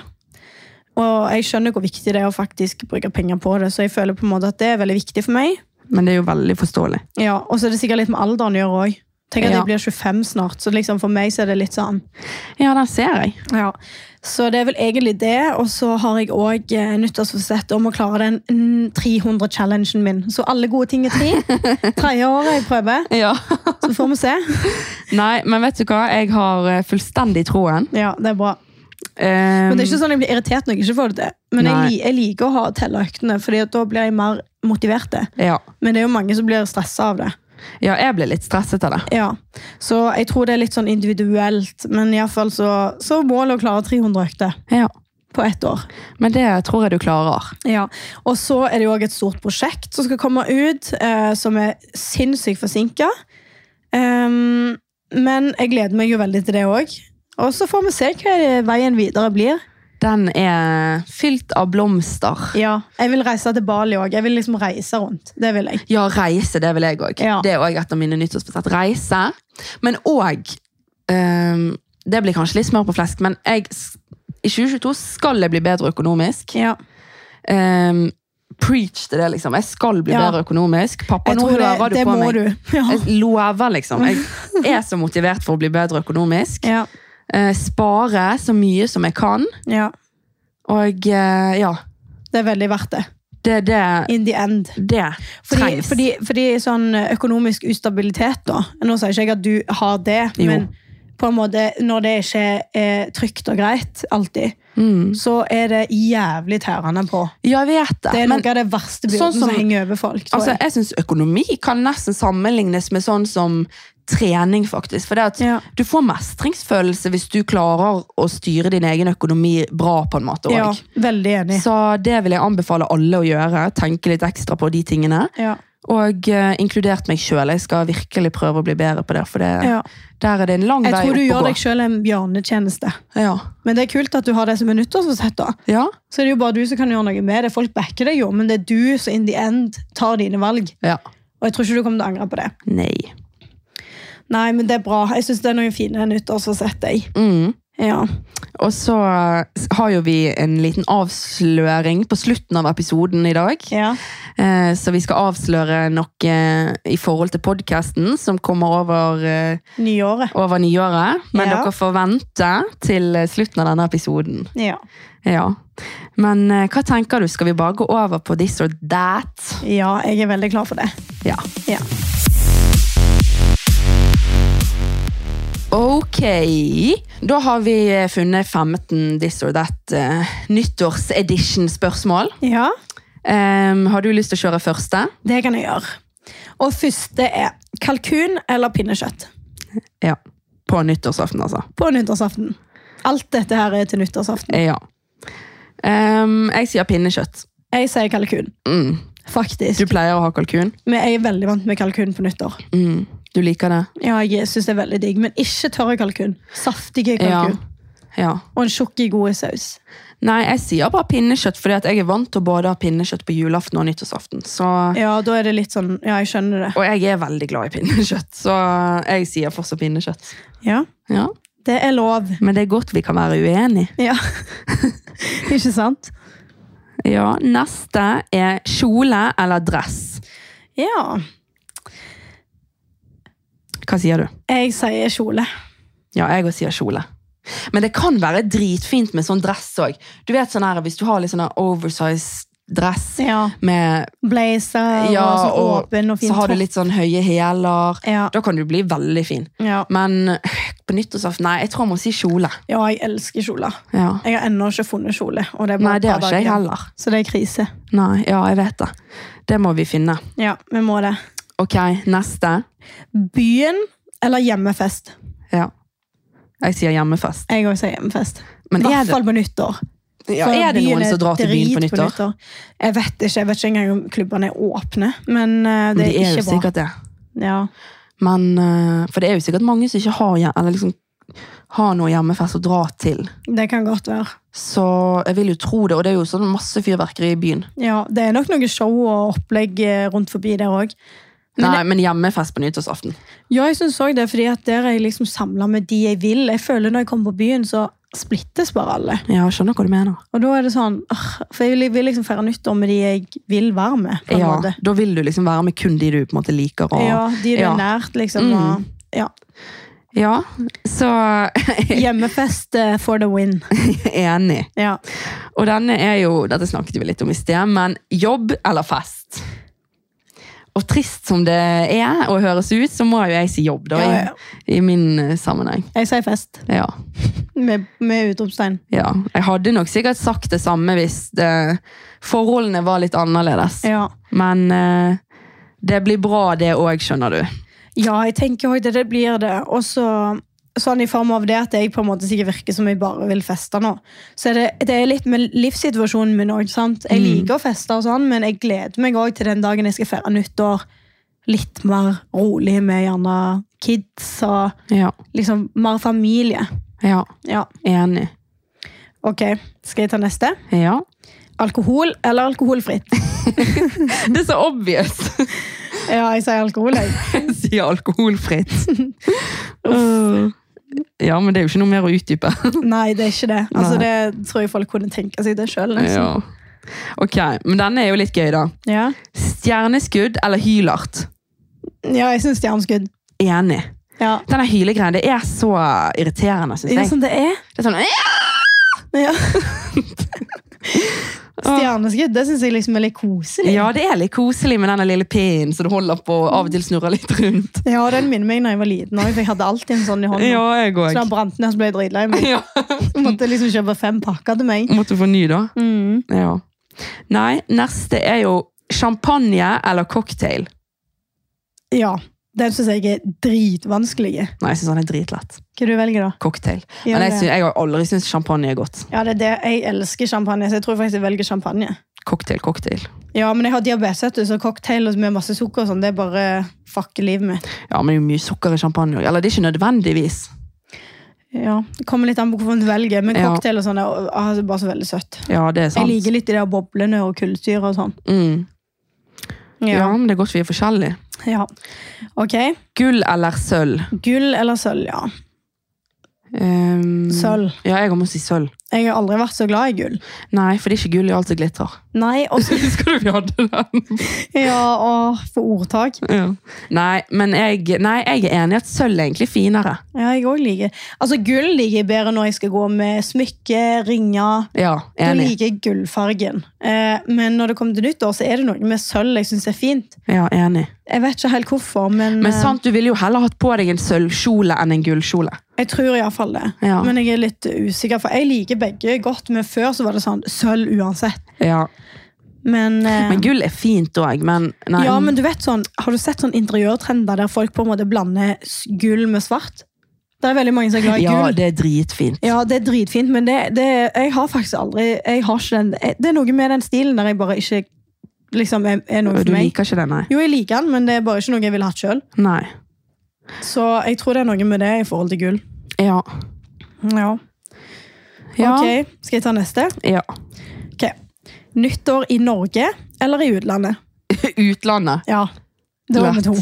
[SPEAKER 2] Og jeg skjønner hvor viktig det er å faktisk bruke penger på det, så jeg føler på en måte at det er veldig viktig for meg.
[SPEAKER 1] Men det er jo veldig forståelig.
[SPEAKER 2] Ja, Og så er det sikkert litt med alderen å gjøre òg. Tenk at
[SPEAKER 1] Ja.
[SPEAKER 2] jeg blir 25 snart, så liksom for meg så er det litt sånn
[SPEAKER 1] Ja, den ser jeg.
[SPEAKER 2] ja, så det er vel egentlig det. Og så har jeg òg eh, nyttårsforsett om å klare den mm, 300-challengen min. Så alle gode ting er tre. Tredje året jeg prøver.
[SPEAKER 1] Ja.
[SPEAKER 2] Så får vi se.
[SPEAKER 1] Nei, men vet du hva? Jeg har eh, fullstendig troen.
[SPEAKER 2] Ja, det er bra.
[SPEAKER 1] Um,
[SPEAKER 2] Men det er ikke sånn jeg blir irritert når jeg ikke får det til. Men jeg,
[SPEAKER 1] Nei.
[SPEAKER 2] li- jeg liker å ha telleøktene, for da blir jeg mer motivert. til.
[SPEAKER 1] Eh, Ja,
[SPEAKER 2] Men det er jo mange som blir stressa av det.
[SPEAKER 1] Ja, jeg ble litt stresset av det.
[SPEAKER 2] Ja, Så jeg tror det er litt sånn individuelt, men iallfall så, så er målet å klare 300 økter
[SPEAKER 1] Ja.
[SPEAKER 2] på ett år.
[SPEAKER 1] Men det tror jeg du klarer.
[SPEAKER 2] Ja, Og så er det jo òg et stort prosjekt som skal komme ut, eh, som er sinnssykt forsinka. Ehm, men jeg gleder meg jo veldig til det òg. Og så får vi se hva det- veien videre blir.
[SPEAKER 1] Den er fylt av blomster.
[SPEAKER 2] Ja, Jeg vil reise til Bali òg. Jeg vil liksom reise rundt. Det vil jeg.
[SPEAKER 1] Ja, reise, det vil jeg òg.
[SPEAKER 2] Ja.
[SPEAKER 1] Det er òg et av mine nyttårsbudsjett. Reise. Men òg ehm, Det blir kanskje litt smør på flesk, men jeg, s- i 2022 skal jeg bli bedre økonomisk.
[SPEAKER 2] Ja.
[SPEAKER 1] Ehm, preach til det, liksom. Jeg skal bli
[SPEAKER 2] Ja.
[SPEAKER 1] bedre økonomisk. Pappa,
[SPEAKER 2] Jeg
[SPEAKER 1] nå
[SPEAKER 2] tror
[SPEAKER 1] hører
[SPEAKER 2] det,
[SPEAKER 1] du
[SPEAKER 2] det
[SPEAKER 1] på
[SPEAKER 2] må
[SPEAKER 1] meg.
[SPEAKER 2] du. Ja.
[SPEAKER 1] Jeg lover, liksom. Jeg er så motivert for å bli bedre økonomisk.
[SPEAKER 2] Ja.
[SPEAKER 1] Eh, spare så mye som jeg kan.
[SPEAKER 2] ja.
[SPEAKER 1] Og eh, ja,
[SPEAKER 2] Det er veldig verdt det.
[SPEAKER 1] det, det,
[SPEAKER 2] In the end.
[SPEAKER 1] det
[SPEAKER 2] Fordi,
[SPEAKER 1] trengs.
[SPEAKER 2] fordi, fordi sånn økonomisk ustabilitet, da Nå sier ikke jeg at du har det,
[SPEAKER 1] Jo.
[SPEAKER 2] men på en måte, når det ikke er trygt og greit alltid,
[SPEAKER 1] Mm.
[SPEAKER 2] så er det jævlig tærende på.
[SPEAKER 1] Ja, jeg vet det.
[SPEAKER 2] Det er
[SPEAKER 1] men-
[SPEAKER 2] noe av det verste byrden
[SPEAKER 1] Sånn som-
[SPEAKER 2] som, henger over folk. Tror
[SPEAKER 1] Altså, jeg synes økonomi kan nesten sammenlignes med sånn som trening, faktisk. For det at
[SPEAKER 2] jeg. Ja.
[SPEAKER 1] du får mestringsfølelse hvis du klarer å styre din egen økonomi bra, på en måte.
[SPEAKER 2] ja,
[SPEAKER 1] også.
[SPEAKER 2] veldig enig.
[SPEAKER 1] Så det vil jeg anbefale alle å gjøre. Tenke litt ekstra på de tingene.
[SPEAKER 2] Ja,
[SPEAKER 1] Og eh, inkludert meg sjøl. Jeg skal virkelig prøve å bli bedre på det, for det,
[SPEAKER 2] ja.
[SPEAKER 1] der er det en lang
[SPEAKER 2] Jeg
[SPEAKER 1] vei
[SPEAKER 2] tror du
[SPEAKER 1] opp å gå.
[SPEAKER 2] gjør deg sjøl en bjørnetjeneste.
[SPEAKER 1] Ja.
[SPEAKER 2] Men det er kult at du har det som er nyttårsforsett. da.
[SPEAKER 1] ja,
[SPEAKER 2] Så det er jo bare du som kan gjøre noe med det. Folk backer deg jo, men det er du som in the end tar dine valg.
[SPEAKER 1] ja.
[SPEAKER 2] Og jeg tror ikke du kommer til å angre på det.
[SPEAKER 1] Nei.
[SPEAKER 2] Nei, men det er bra. Jeg syns det er noen fine nyttårsforsett. jeg.
[SPEAKER 1] Mm.
[SPEAKER 2] Ja.
[SPEAKER 1] Og så eh, har jo vi en liten avsløring på slutten av episoden i dag.
[SPEAKER 2] ja.
[SPEAKER 1] Eh, Så vi skal avsløre noe eh, i forhold til podkasten som kommer over, eh,
[SPEAKER 2] Nyåret.
[SPEAKER 1] over nyåret. Men
[SPEAKER 2] Ja.
[SPEAKER 1] dere får vente til eh, slutten av denne episoden.
[SPEAKER 2] Ja.
[SPEAKER 1] Ja. Men eh, hva tenker du? Skal vi bare gå over på this or that?
[SPEAKER 2] ja, jeg er veldig klar for det.
[SPEAKER 1] Ja.
[SPEAKER 2] Ja.
[SPEAKER 1] Ok. Da har vi eh, funnet 15 this or that uh, nyttårsedition-spørsmål.
[SPEAKER 2] Ja,
[SPEAKER 1] Em, har du lyst til å kjøre første?
[SPEAKER 2] Det kan jeg gjøre. Og første er kalkun eller pinnekjøtt
[SPEAKER 1] Ja. På nyttårsaften, altså.
[SPEAKER 2] på nyttårsaften. Alt dette her er til nyttårsaften.
[SPEAKER 1] Eh, Ja. Em, jeg sier pinnekjøtt.
[SPEAKER 2] Jeg sier kalkun,
[SPEAKER 1] Mm. Du
[SPEAKER 2] faktisk.
[SPEAKER 1] pleier å ha kalkun?
[SPEAKER 2] Men jeg er veldig vant med kalkun på nyttår.
[SPEAKER 1] Mm. Du liker det?
[SPEAKER 2] Ja, jeg synes det er veldig digg, Men ikke tørre kalkun. Saftige kalkun.
[SPEAKER 1] Ja. ja.
[SPEAKER 2] Og en tjukk, god saus.
[SPEAKER 1] Nei, jeg sier bare pinnekjøtt, fordi at jeg er vant til å både ha pinnekjøtt på julaften og nyttårsaften. Så,
[SPEAKER 2] Ja, da er det litt sånn Ja, jeg skjønner det.
[SPEAKER 1] og jeg er veldig glad i pinnekjøtt, så jeg sier fortsatt pinnekjøtt.
[SPEAKER 2] Ja,
[SPEAKER 1] Ja.
[SPEAKER 2] Det er lov.
[SPEAKER 1] Men det er godt vi kan være uenige.
[SPEAKER 2] Ja. ikke sant?
[SPEAKER 1] Ja, neste er kjole eller dress.
[SPEAKER 2] Ja.
[SPEAKER 1] Hva sier du?
[SPEAKER 2] Jeg sier kjole.
[SPEAKER 1] Ja, jeg også sier kjole. Men det kan være dritfint med sånn dress òg. Du vet sånn her, hvis du har litt sånn her oversized dress
[SPEAKER 2] Ja.
[SPEAKER 1] med
[SPEAKER 2] Blazer
[SPEAKER 1] Ja,
[SPEAKER 2] og sånn
[SPEAKER 1] og
[SPEAKER 2] åpen og fin
[SPEAKER 1] Så har du litt sånn høye hæler.
[SPEAKER 2] topp. Ja.
[SPEAKER 1] Da kan du bli veldig fin.
[SPEAKER 2] Ja.
[SPEAKER 1] Men øh, på nyttårsaften Nei, jeg tror jeg må si kjole.
[SPEAKER 2] ja, jeg elsker kjoler.
[SPEAKER 1] Ja.
[SPEAKER 2] Jeg har ennå ikke funnet kjole. Og det er bare
[SPEAKER 1] Nei, det har
[SPEAKER 2] et par
[SPEAKER 1] ikke jeg
[SPEAKER 2] dager.
[SPEAKER 1] heller.
[SPEAKER 2] Så det er krise.
[SPEAKER 1] Nei, Ja, jeg vet det. Det må vi finne.
[SPEAKER 2] Ja, vi må det.
[SPEAKER 1] Ok, neste.
[SPEAKER 2] Byen eller hjemmefest?
[SPEAKER 1] Ja. Jeg sier hjemmefest.
[SPEAKER 2] Jeg også sier hjemmefest. I
[SPEAKER 1] Men er
[SPEAKER 2] hvert
[SPEAKER 1] det,
[SPEAKER 2] fall på nyttår.
[SPEAKER 1] ja,
[SPEAKER 2] For
[SPEAKER 1] er det
[SPEAKER 2] byen
[SPEAKER 1] noen
[SPEAKER 2] er
[SPEAKER 1] som drar til byen på
[SPEAKER 2] drit
[SPEAKER 1] nyttår?
[SPEAKER 2] Jeg vet ikke jeg vet ikke engang om klubbene er åpne, men eh,
[SPEAKER 1] Men
[SPEAKER 2] det
[SPEAKER 1] de
[SPEAKER 2] er,
[SPEAKER 1] er jo
[SPEAKER 2] ikke bra.
[SPEAKER 1] sikkert det.
[SPEAKER 2] Ja.
[SPEAKER 1] Men, øh, for det er jo sikkert mange som ikke har, hjem- eller liksom, har noe hjemmefest å dra til.
[SPEAKER 2] Det kan godt være.
[SPEAKER 1] Så jeg vil jo tro det, og det er jo sånn masse fyrverkeri i byen.
[SPEAKER 2] Ja, Det er nok noe show og opplegg eh, rundt forbi der òg. Men
[SPEAKER 1] Nei, men hjemmefest på nyttårsaften.
[SPEAKER 2] Ja, jeg synes også det, fordi at der er jeg liksom samlet med de jeg vil. Jeg føler når jeg kommer på byen, så splittes bare alle.
[SPEAKER 1] Ja, jeg skjønner hva du mener.
[SPEAKER 2] Og da er det sånn, «Åh», for jeg vil, jeg vil liksom feire nyttår med de jeg vil være med, på en
[SPEAKER 1] Ja,
[SPEAKER 2] måte.
[SPEAKER 1] da vil du liksom være med kun de du på en måte liker. Og,
[SPEAKER 2] Ja, de det er
[SPEAKER 1] Ja.
[SPEAKER 2] nært, liksom.
[SPEAKER 1] Mm.
[SPEAKER 2] Og, ja.
[SPEAKER 1] Ja, så
[SPEAKER 2] Hjemmefest eh, for the win.
[SPEAKER 1] enig.
[SPEAKER 2] Ja.
[SPEAKER 1] Og denne er jo, dette snakket vi litt om i sted, men jobb eller fest? Og trist som det er og høres ut, så må jo jeg si jobb da,
[SPEAKER 2] Ja, ja.
[SPEAKER 1] I, i min eh, sammenheng.
[SPEAKER 2] Jeg sier fest,
[SPEAKER 1] Ja,
[SPEAKER 2] med, med utropstegn.
[SPEAKER 1] ja. Jeg hadde nok sikkert sagt det samme hvis eh, forholdene var litt annerledes.
[SPEAKER 2] Ja.
[SPEAKER 1] Men eh, Det blir bra det òg, skjønner du.
[SPEAKER 2] Ja, jeg tenker også det, det blir det. Og så sånn i form av det at jeg på en måte sikkert virker som jeg bare vil feste nå. Så er det, det er litt med livssituasjonen min òg. Jeg liker å feste, og sånn, men jeg gleder meg òg til den dagen jeg skal feire nyttår litt mer rolig med gjerne kids og
[SPEAKER 1] Ja,
[SPEAKER 2] liksom mer familie.
[SPEAKER 1] ja.
[SPEAKER 2] Ja,
[SPEAKER 1] Enig.
[SPEAKER 2] ok. Skal jeg ta neste?
[SPEAKER 1] Ja.
[SPEAKER 2] Alkohol eller alkoholfritt?
[SPEAKER 1] Det er så obvious!
[SPEAKER 2] Ja, jeg sier alkohol, jeg.
[SPEAKER 1] Sier alkoholfritt. ja, men det er jo ikke noe mer å utdype.
[SPEAKER 2] Nei, det er ikke det. Altså,
[SPEAKER 1] Nei.
[SPEAKER 2] det tror jeg folk kunne tenke seg det sjøl. Liksom.
[SPEAKER 1] Ja. Ok, men denne er jo litt gøy, da.
[SPEAKER 2] Ja.
[SPEAKER 1] Stjerneskudd eller hylart?
[SPEAKER 2] ja, jeg syns stjerneskudd.
[SPEAKER 1] Enig.
[SPEAKER 2] Ja.
[SPEAKER 1] Denne hylegreien det er så irriterende, syns
[SPEAKER 2] Er det
[SPEAKER 1] jeg.
[SPEAKER 2] sånn det er?
[SPEAKER 1] Det er sånn, «Eh!»
[SPEAKER 2] Ja. Stjerneskudd, det syns jeg liksom er litt koselig.
[SPEAKER 1] ja, det er litt koselig med denne lille pinnen som du holder på og av og til snurrer litt rundt.
[SPEAKER 2] Ja, den minner meg når jeg var liten også, for jeg hadde alltid en sånn i hånda.
[SPEAKER 1] jeg
[SPEAKER 2] Så da brant den, og så ble jeg dritlei meg.
[SPEAKER 1] Ja.
[SPEAKER 2] Så måtte jeg liksom kjøpe fem pakker til meg.
[SPEAKER 1] Måtte få ny, da.
[SPEAKER 2] Mm.
[SPEAKER 1] Ja. Nei, neste er jo champagne eller cocktail.
[SPEAKER 2] Ja. Den syns jeg er dritvanskelig.
[SPEAKER 1] Nei, jeg syns han er dritlett.
[SPEAKER 2] Hva du velger da?
[SPEAKER 1] Cocktail.
[SPEAKER 2] Ja,
[SPEAKER 1] Men jeg,
[SPEAKER 2] det-
[SPEAKER 1] synes, jeg har aldri syntes champagne er godt.
[SPEAKER 2] Ja, det er det. Jeg elsker champagne, så jeg tror faktisk jeg velger champagne.
[SPEAKER 1] Cocktail, cocktail.
[SPEAKER 2] Ja, men jeg har diabetes, vet du, så cocktail med masse sukker og sånn, det er bare fucker livet mitt.
[SPEAKER 1] Ja, men det er jo mye sukker i champagne. Eller det er ikke nødvendigvis.
[SPEAKER 2] Ja, Det kommer litt an på hvorfor du velger, men
[SPEAKER 1] Ja.
[SPEAKER 2] cocktail og sånn er ah, det er bare så veldig søtt.
[SPEAKER 1] Ja, det er sant.
[SPEAKER 2] Jeg liker litt de der boblene og kullsyre og sånn.
[SPEAKER 1] mm. ja.
[SPEAKER 2] Ja.
[SPEAKER 1] men det er godt vi er forskjellige.
[SPEAKER 2] ja. Ok.
[SPEAKER 1] Gull eller sølv?
[SPEAKER 2] Gull eller sølv, ja.
[SPEAKER 1] Ehm,
[SPEAKER 2] Sølv.
[SPEAKER 1] Ja, jeg må si sølv.
[SPEAKER 2] Jeg har aldri vært så glad i gull.
[SPEAKER 1] Nei, for det er ikke gull i alt som glitrer.
[SPEAKER 2] Nei, også,
[SPEAKER 1] Husker du vi hadde den?
[SPEAKER 2] ja, og for ordtak.
[SPEAKER 1] ja. Nei, men jeg, nei, jeg er enig i at sølv er egentlig finere.
[SPEAKER 2] Ja, jeg òg liker Altså, gull liker jeg bedre når jeg skal gå med smykke, ringer.
[SPEAKER 1] Ja,
[SPEAKER 2] Da
[SPEAKER 1] enig.
[SPEAKER 2] liker jeg gullfargen. Eh, men når det kommer til nyttår, så er det noe med sølv jeg syns er fint.
[SPEAKER 1] Ja, enig.
[SPEAKER 2] Jeg vet ikke helt hvorfor, men,
[SPEAKER 1] Men
[SPEAKER 2] eh,
[SPEAKER 1] sant, du ville jo heller hatt på deg en sølvkjole enn en gullkjole.
[SPEAKER 2] jeg tror iallfall det.
[SPEAKER 1] Ja.
[SPEAKER 2] Men jeg er litt usikker, for jeg liker begge godt. Men før så var det sånn sølv uansett.
[SPEAKER 1] Ja.
[SPEAKER 2] Men, eh,
[SPEAKER 1] Men gull er fint òg, men nei.
[SPEAKER 2] ja, men du vet sånn, Har du sett sånn interiørtrender der folk på en måte blander s- gull med svart? Det er veldig mange som er glad i
[SPEAKER 1] Ja,
[SPEAKER 2] gull.
[SPEAKER 1] det er dritfint.
[SPEAKER 2] Ja, det er dritfint, men det, det, jeg har faktisk aldri jeg har ikke den, jeg- Det er noe med den stilen der jeg bare ikke liksom er, er noe
[SPEAKER 1] du
[SPEAKER 2] for meg.
[SPEAKER 1] liker ikke det, nei?
[SPEAKER 2] Jo, jeg liker den, men det er bare ikke noe jeg ville hatt sjøl.
[SPEAKER 1] Nei.
[SPEAKER 2] Så jeg tror det er noe med det i forhold til gull.
[SPEAKER 1] Ja.
[SPEAKER 2] Ja.
[SPEAKER 1] Ja.
[SPEAKER 2] Ok, Skal jeg ta neste?
[SPEAKER 1] ja.
[SPEAKER 2] Ok. Nyttår i Norge eller i utlandet?
[SPEAKER 1] Utlandet.
[SPEAKER 2] Ja. Det var
[SPEAKER 1] Lett.
[SPEAKER 2] med to.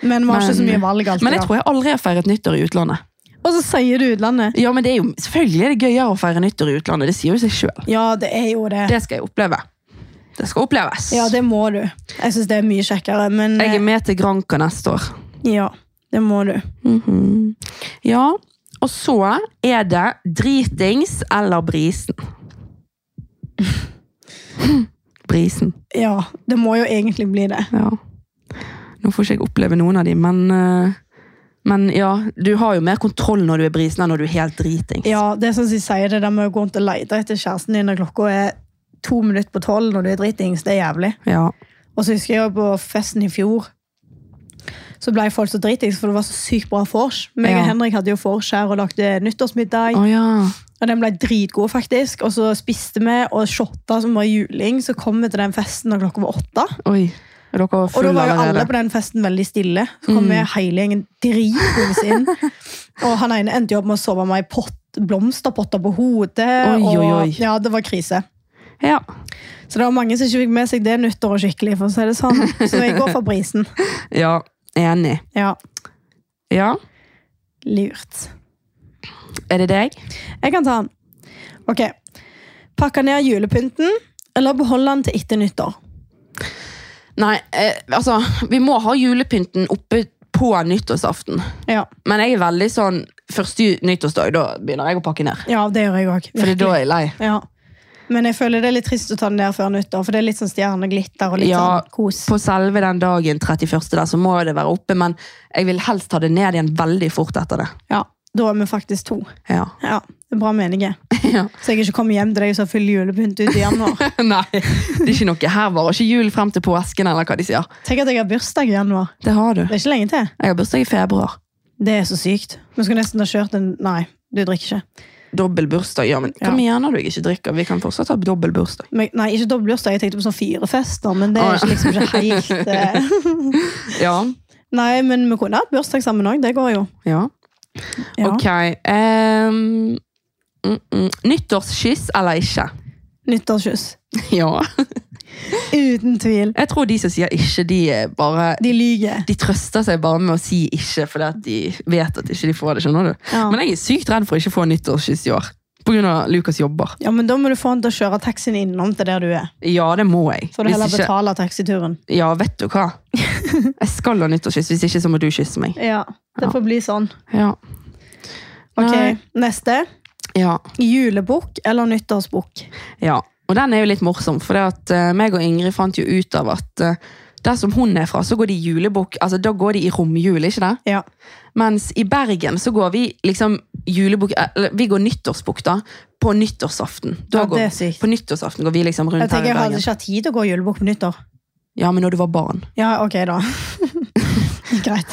[SPEAKER 2] Men var ikke så
[SPEAKER 1] Men-
[SPEAKER 2] mye valg alltid.
[SPEAKER 1] Men jeg
[SPEAKER 2] da.
[SPEAKER 1] tror jeg aldri har feiret nyttår i utlandet.
[SPEAKER 2] Og så sier du utlandet.
[SPEAKER 1] Ja, men det er jo, Selvfølgelig er det gøyere å feire nyttår i utlandet. Det sier jo seg sjøl.
[SPEAKER 2] Ja, det er jo det.
[SPEAKER 1] Det skal jeg oppleve. Det skal oppleves.
[SPEAKER 2] Ja, det må du. Jeg syns det er mye kjekkere, men
[SPEAKER 1] Jeg er
[SPEAKER 2] eh,
[SPEAKER 1] med til Granca neste år.
[SPEAKER 2] ja, det må du. Mhm.
[SPEAKER 1] Ja, og så er det dritings eller brisen. Brisen,
[SPEAKER 2] Ja, det må jo egentlig bli det.
[SPEAKER 1] ja. Nå får ikke jeg oppleve noen av de, men, eh, men ja, du har jo mer kontroll når du er brisen enn når du er helt dritings.
[SPEAKER 2] Ja, det er sånn som jeg sier det der med å gå rundt og lete etter kjæresten din når klokka er to minutter på tolv når du er dritings, det er jævlig.
[SPEAKER 1] Ja.
[SPEAKER 2] Og så husker jeg jo på festen i fjor, så ble folk så dritings, for det var så sykt bra vors. Meg
[SPEAKER 1] Ja.
[SPEAKER 2] og Henrik hadde jo vors her og lagde nyttårsmiddag,
[SPEAKER 1] Å ja.
[SPEAKER 2] og den ble dritgod faktisk. Og så spiste vi og shotta som var juling, så kom vi til den festen når klokka var åtte.
[SPEAKER 1] Oi. Er dere
[SPEAKER 2] Og
[SPEAKER 1] fulle
[SPEAKER 2] da var jo alle
[SPEAKER 1] allerede? Mm.
[SPEAKER 2] på den festen veldig stille. Så kom vi hele gjengen dritings inn. Og han ene endte jo opp med å sove med ei pott, blomsterpotter på hodet.
[SPEAKER 1] Oi,
[SPEAKER 2] og,
[SPEAKER 1] oi, oi.
[SPEAKER 2] Ja, det var krise.
[SPEAKER 1] Ja.
[SPEAKER 2] Så det var mange som ikke fikk med seg det nyttåret skikkelig. for å si det sånn. Så jeg går for brisen.
[SPEAKER 1] ja. Enig.
[SPEAKER 2] Ja,
[SPEAKER 1] Ja.
[SPEAKER 2] Lurt.
[SPEAKER 1] Er det deg?
[SPEAKER 2] Jeg kan ta den. Ok. Pakke ned julepynten, eller beholde den til etter nyttår?
[SPEAKER 1] Nei, eh, altså, vi må ha julepynten oppe på nyttårsaften.
[SPEAKER 2] Ja,
[SPEAKER 1] Men jeg er veldig sånn Første ju- nyttårsdag, da begynner jeg å pakke ned.
[SPEAKER 2] ja det gjør jeg òg.
[SPEAKER 1] Fordi da er jeg lei.
[SPEAKER 2] Ja. Men jeg føler det er litt trist å ta den ned før nyttår, for det er litt sånn stjerneglitter og litt
[SPEAKER 1] Ja,
[SPEAKER 2] sånn kos.
[SPEAKER 1] På selve den dagen 31. der, så må det være oppe, men jeg vil helst ha det ned igjen veldig fort etter det.
[SPEAKER 2] Ja, Da er vi faktisk to.
[SPEAKER 1] Ja.
[SPEAKER 2] Ja, det er Bra meninger.
[SPEAKER 1] ja.
[SPEAKER 2] Så jeg ikke kommer hjem til deg og så fyller julepynt ut i januar.
[SPEAKER 1] Nei, det er ikke noe her var ikke jul frem til påsken, eller hva de sier.
[SPEAKER 2] Tenk at jeg har bursdag i januar.
[SPEAKER 1] Det har du.
[SPEAKER 2] Det er ikke lenge til.
[SPEAKER 1] Jeg har bursdag i februar.
[SPEAKER 2] Det er så sykt. Vi skulle nesten ha kjørt en Nei, du drikker ikke.
[SPEAKER 1] Dobbel bursdag, ja, men hva
[SPEAKER 2] Ja.
[SPEAKER 1] mener du jeg ikke drikker? Vi kan fortsatt ha dobbel bursdag.
[SPEAKER 2] Men, nei, ikke dobbel bursdag. Jeg tenkte på sånn firefester, men det
[SPEAKER 1] Å, ja.
[SPEAKER 2] er ikke, liksom ikke helt eh.
[SPEAKER 1] Ja,
[SPEAKER 2] Nei, men vi kunne hatt bursdag sammen òg. Det går jo.
[SPEAKER 1] ja.
[SPEAKER 2] Ja.
[SPEAKER 1] Ok. ehm, mm, mm. Nyttårskyss eller ikke?
[SPEAKER 2] Nyttårskyss.
[SPEAKER 1] Ja.
[SPEAKER 2] Uten tvil.
[SPEAKER 1] Jeg tror de som sier ikke, de er bare
[SPEAKER 2] De lyver.
[SPEAKER 1] de trøster seg bare med å si ikke, fordi at de vet at ikke de får det. skjønner du?
[SPEAKER 2] Ja.
[SPEAKER 1] Men jeg er sykt redd for å ikke få nyttårskyss i år. Pga. Lukas jobber.
[SPEAKER 2] ja, men da må du få han til å kjøre taxien innom til der du er.
[SPEAKER 1] Ja, det må jeg.
[SPEAKER 2] Får du
[SPEAKER 1] Hvis
[SPEAKER 2] heller
[SPEAKER 1] ikke-
[SPEAKER 2] betale taxituren.
[SPEAKER 1] Ja, vet du hva? Jeg skal ha nyttårskyss, hvis ikke så må du kysse meg.
[SPEAKER 2] Ja, det
[SPEAKER 1] Ja.
[SPEAKER 2] får bli sånn.
[SPEAKER 1] Ja.
[SPEAKER 2] Ok,
[SPEAKER 1] Nei.
[SPEAKER 2] Neste.
[SPEAKER 1] Ja.
[SPEAKER 2] Julebukk eller nyttårsbukk?
[SPEAKER 1] ja. Og den er jo litt morsom, for det at eh, meg og Ingrid fant jo ut av at eh, der som hun er fra, så går de i julebukk, altså da går de i romjul, ikke det?
[SPEAKER 2] Ja.
[SPEAKER 1] Mens i Bergen så går vi liksom julebukk, eller vi går nyttårsbukk da, på nyttårsaften. Da
[SPEAKER 2] Ja, det
[SPEAKER 1] går,
[SPEAKER 2] er sykt.
[SPEAKER 1] på nyttårsaften går vi liksom rundt
[SPEAKER 2] Jeg
[SPEAKER 1] her
[SPEAKER 2] tenker
[SPEAKER 1] i
[SPEAKER 2] jeg hadde
[SPEAKER 1] Bergen.
[SPEAKER 2] ikke hatt tid til å gå julebukk på nyttår.
[SPEAKER 1] Ja, men når du var barn.
[SPEAKER 2] Ja, ok da. Greit.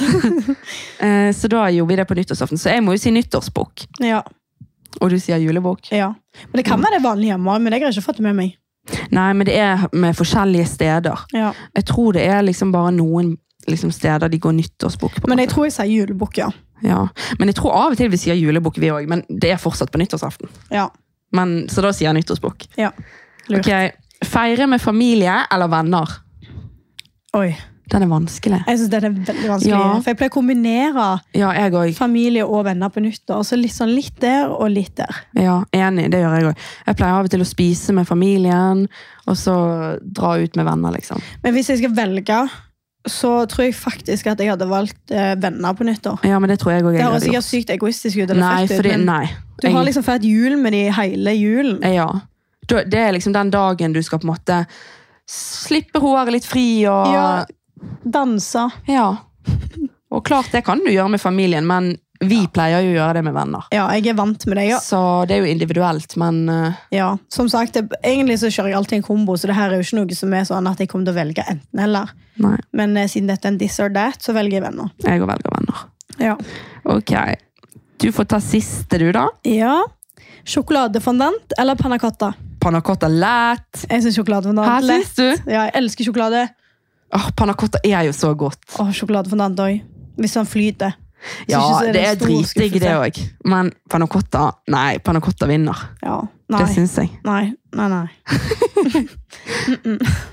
[SPEAKER 1] Eh, så da gjorde vi det på nyttårsaften, så jeg må jo si nyttårsbukk.
[SPEAKER 2] Ja,
[SPEAKER 1] Og du sier julebukk.
[SPEAKER 2] ja. Men det kan være det vanlige hjemme, men jeg har ikke fått det med meg.
[SPEAKER 1] Nei, men det er med forskjellige steder.
[SPEAKER 2] Ja.
[SPEAKER 1] Jeg tror det er liksom bare noen liksom, steder de går nyttårsbukk på. en
[SPEAKER 2] Men jeg
[SPEAKER 1] måte.
[SPEAKER 2] tror jeg sier julebukk, ja.
[SPEAKER 1] ja. men jeg tror av og til vi sier julebukk, vi òg, men det er fortsatt på nyttårsaften.
[SPEAKER 2] Ja,
[SPEAKER 1] Men, så da sier jeg nyttårsbukk.
[SPEAKER 2] ja. Lurt.
[SPEAKER 1] Ok, Feire med familie eller venner?
[SPEAKER 2] Oi,
[SPEAKER 1] Den er vanskelig.
[SPEAKER 2] jeg synes det er veldig vanskelig.
[SPEAKER 1] Ja.
[SPEAKER 2] For jeg pleier å kombinere
[SPEAKER 1] Ja, jeg òg.
[SPEAKER 2] familie og venner på nyttår, så litt sånn litt der og litt der.
[SPEAKER 1] Ja, enig. Det gjør jeg òg. Jeg pleier av og til å spise med familien, og så dra ut med venner, liksom.
[SPEAKER 2] Men hvis jeg skal velge, så tror jeg faktisk at jeg hadde valgt eh, venner på nyttår.
[SPEAKER 1] Ja, men det tror jeg òg
[SPEAKER 2] Det
[SPEAKER 1] jeg
[SPEAKER 2] høres
[SPEAKER 1] hadde
[SPEAKER 2] sikkert
[SPEAKER 1] gjort.
[SPEAKER 2] sykt egoistisk ut. eller
[SPEAKER 1] Nei,
[SPEAKER 2] frekt ut,
[SPEAKER 1] fordi
[SPEAKER 2] men
[SPEAKER 1] Nei.
[SPEAKER 2] Du har
[SPEAKER 1] Jeg-
[SPEAKER 2] liksom feiret jul med de hele julen.
[SPEAKER 1] Ja. Da- Det er liksom den dagen du skal på en måte slippe håret litt fri og
[SPEAKER 2] Ja. Dansa.
[SPEAKER 1] Ja. Og klart det kan du gjøre med familien, men vi pleier jo å gjøre det med venner.
[SPEAKER 2] Ja, jeg er vant med det. Ja.
[SPEAKER 1] Så det er jo individuelt, men eh,
[SPEAKER 2] Ja, som sagt, det, egentlig så kjører jeg alltid en kombo, så det her er jo ikke noe som er sånn at jeg kommer til å velge enten eller.
[SPEAKER 1] nei.
[SPEAKER 2] Men eh, siden dette er en this or that, så velger jeg venner.
[SPEAKER 1] Jeg òg velger venner.
[SPEAKER 2] Ja.
[SPEAKER 1] Ok. Du får ta siste, du, da.
[SPEAKER 2] ja. Sjokoladefondant eller panna cotta?
[SPEAKER 1] Panna cotta lett.
[SPEAKER 2] Jeg syns sjokoladefondant
[SPEAKER 1] Her
[SPEAKER 2] er lett.
[SPEAKER 1] syns du.
[SPEAKER 2] Ja, jeg elsker sjokolade.
[SPEAKER 1] Åh, Panna cotta er jo så godt.
[SPEAKER 2] Og sjokoladefondant òg. Hvis han flyter. Hvis
[SPEAKER 1] Ja,
[SPEAKER 2] ikke så
[SPEAKER 1] det er
[SPEAKER 2] en stor
[SPEAKER 1] dritdigg, det
[SPEAKER 2] skuffelse.
[SPEAKER 1] òg. Men panna cotta Nei, panna cotta vinner.
[SPEAKER 2] Ja. Nei.
[SPEAKER 1] Det syns jeg.
[SPEAKER 2] nei, nei, nei.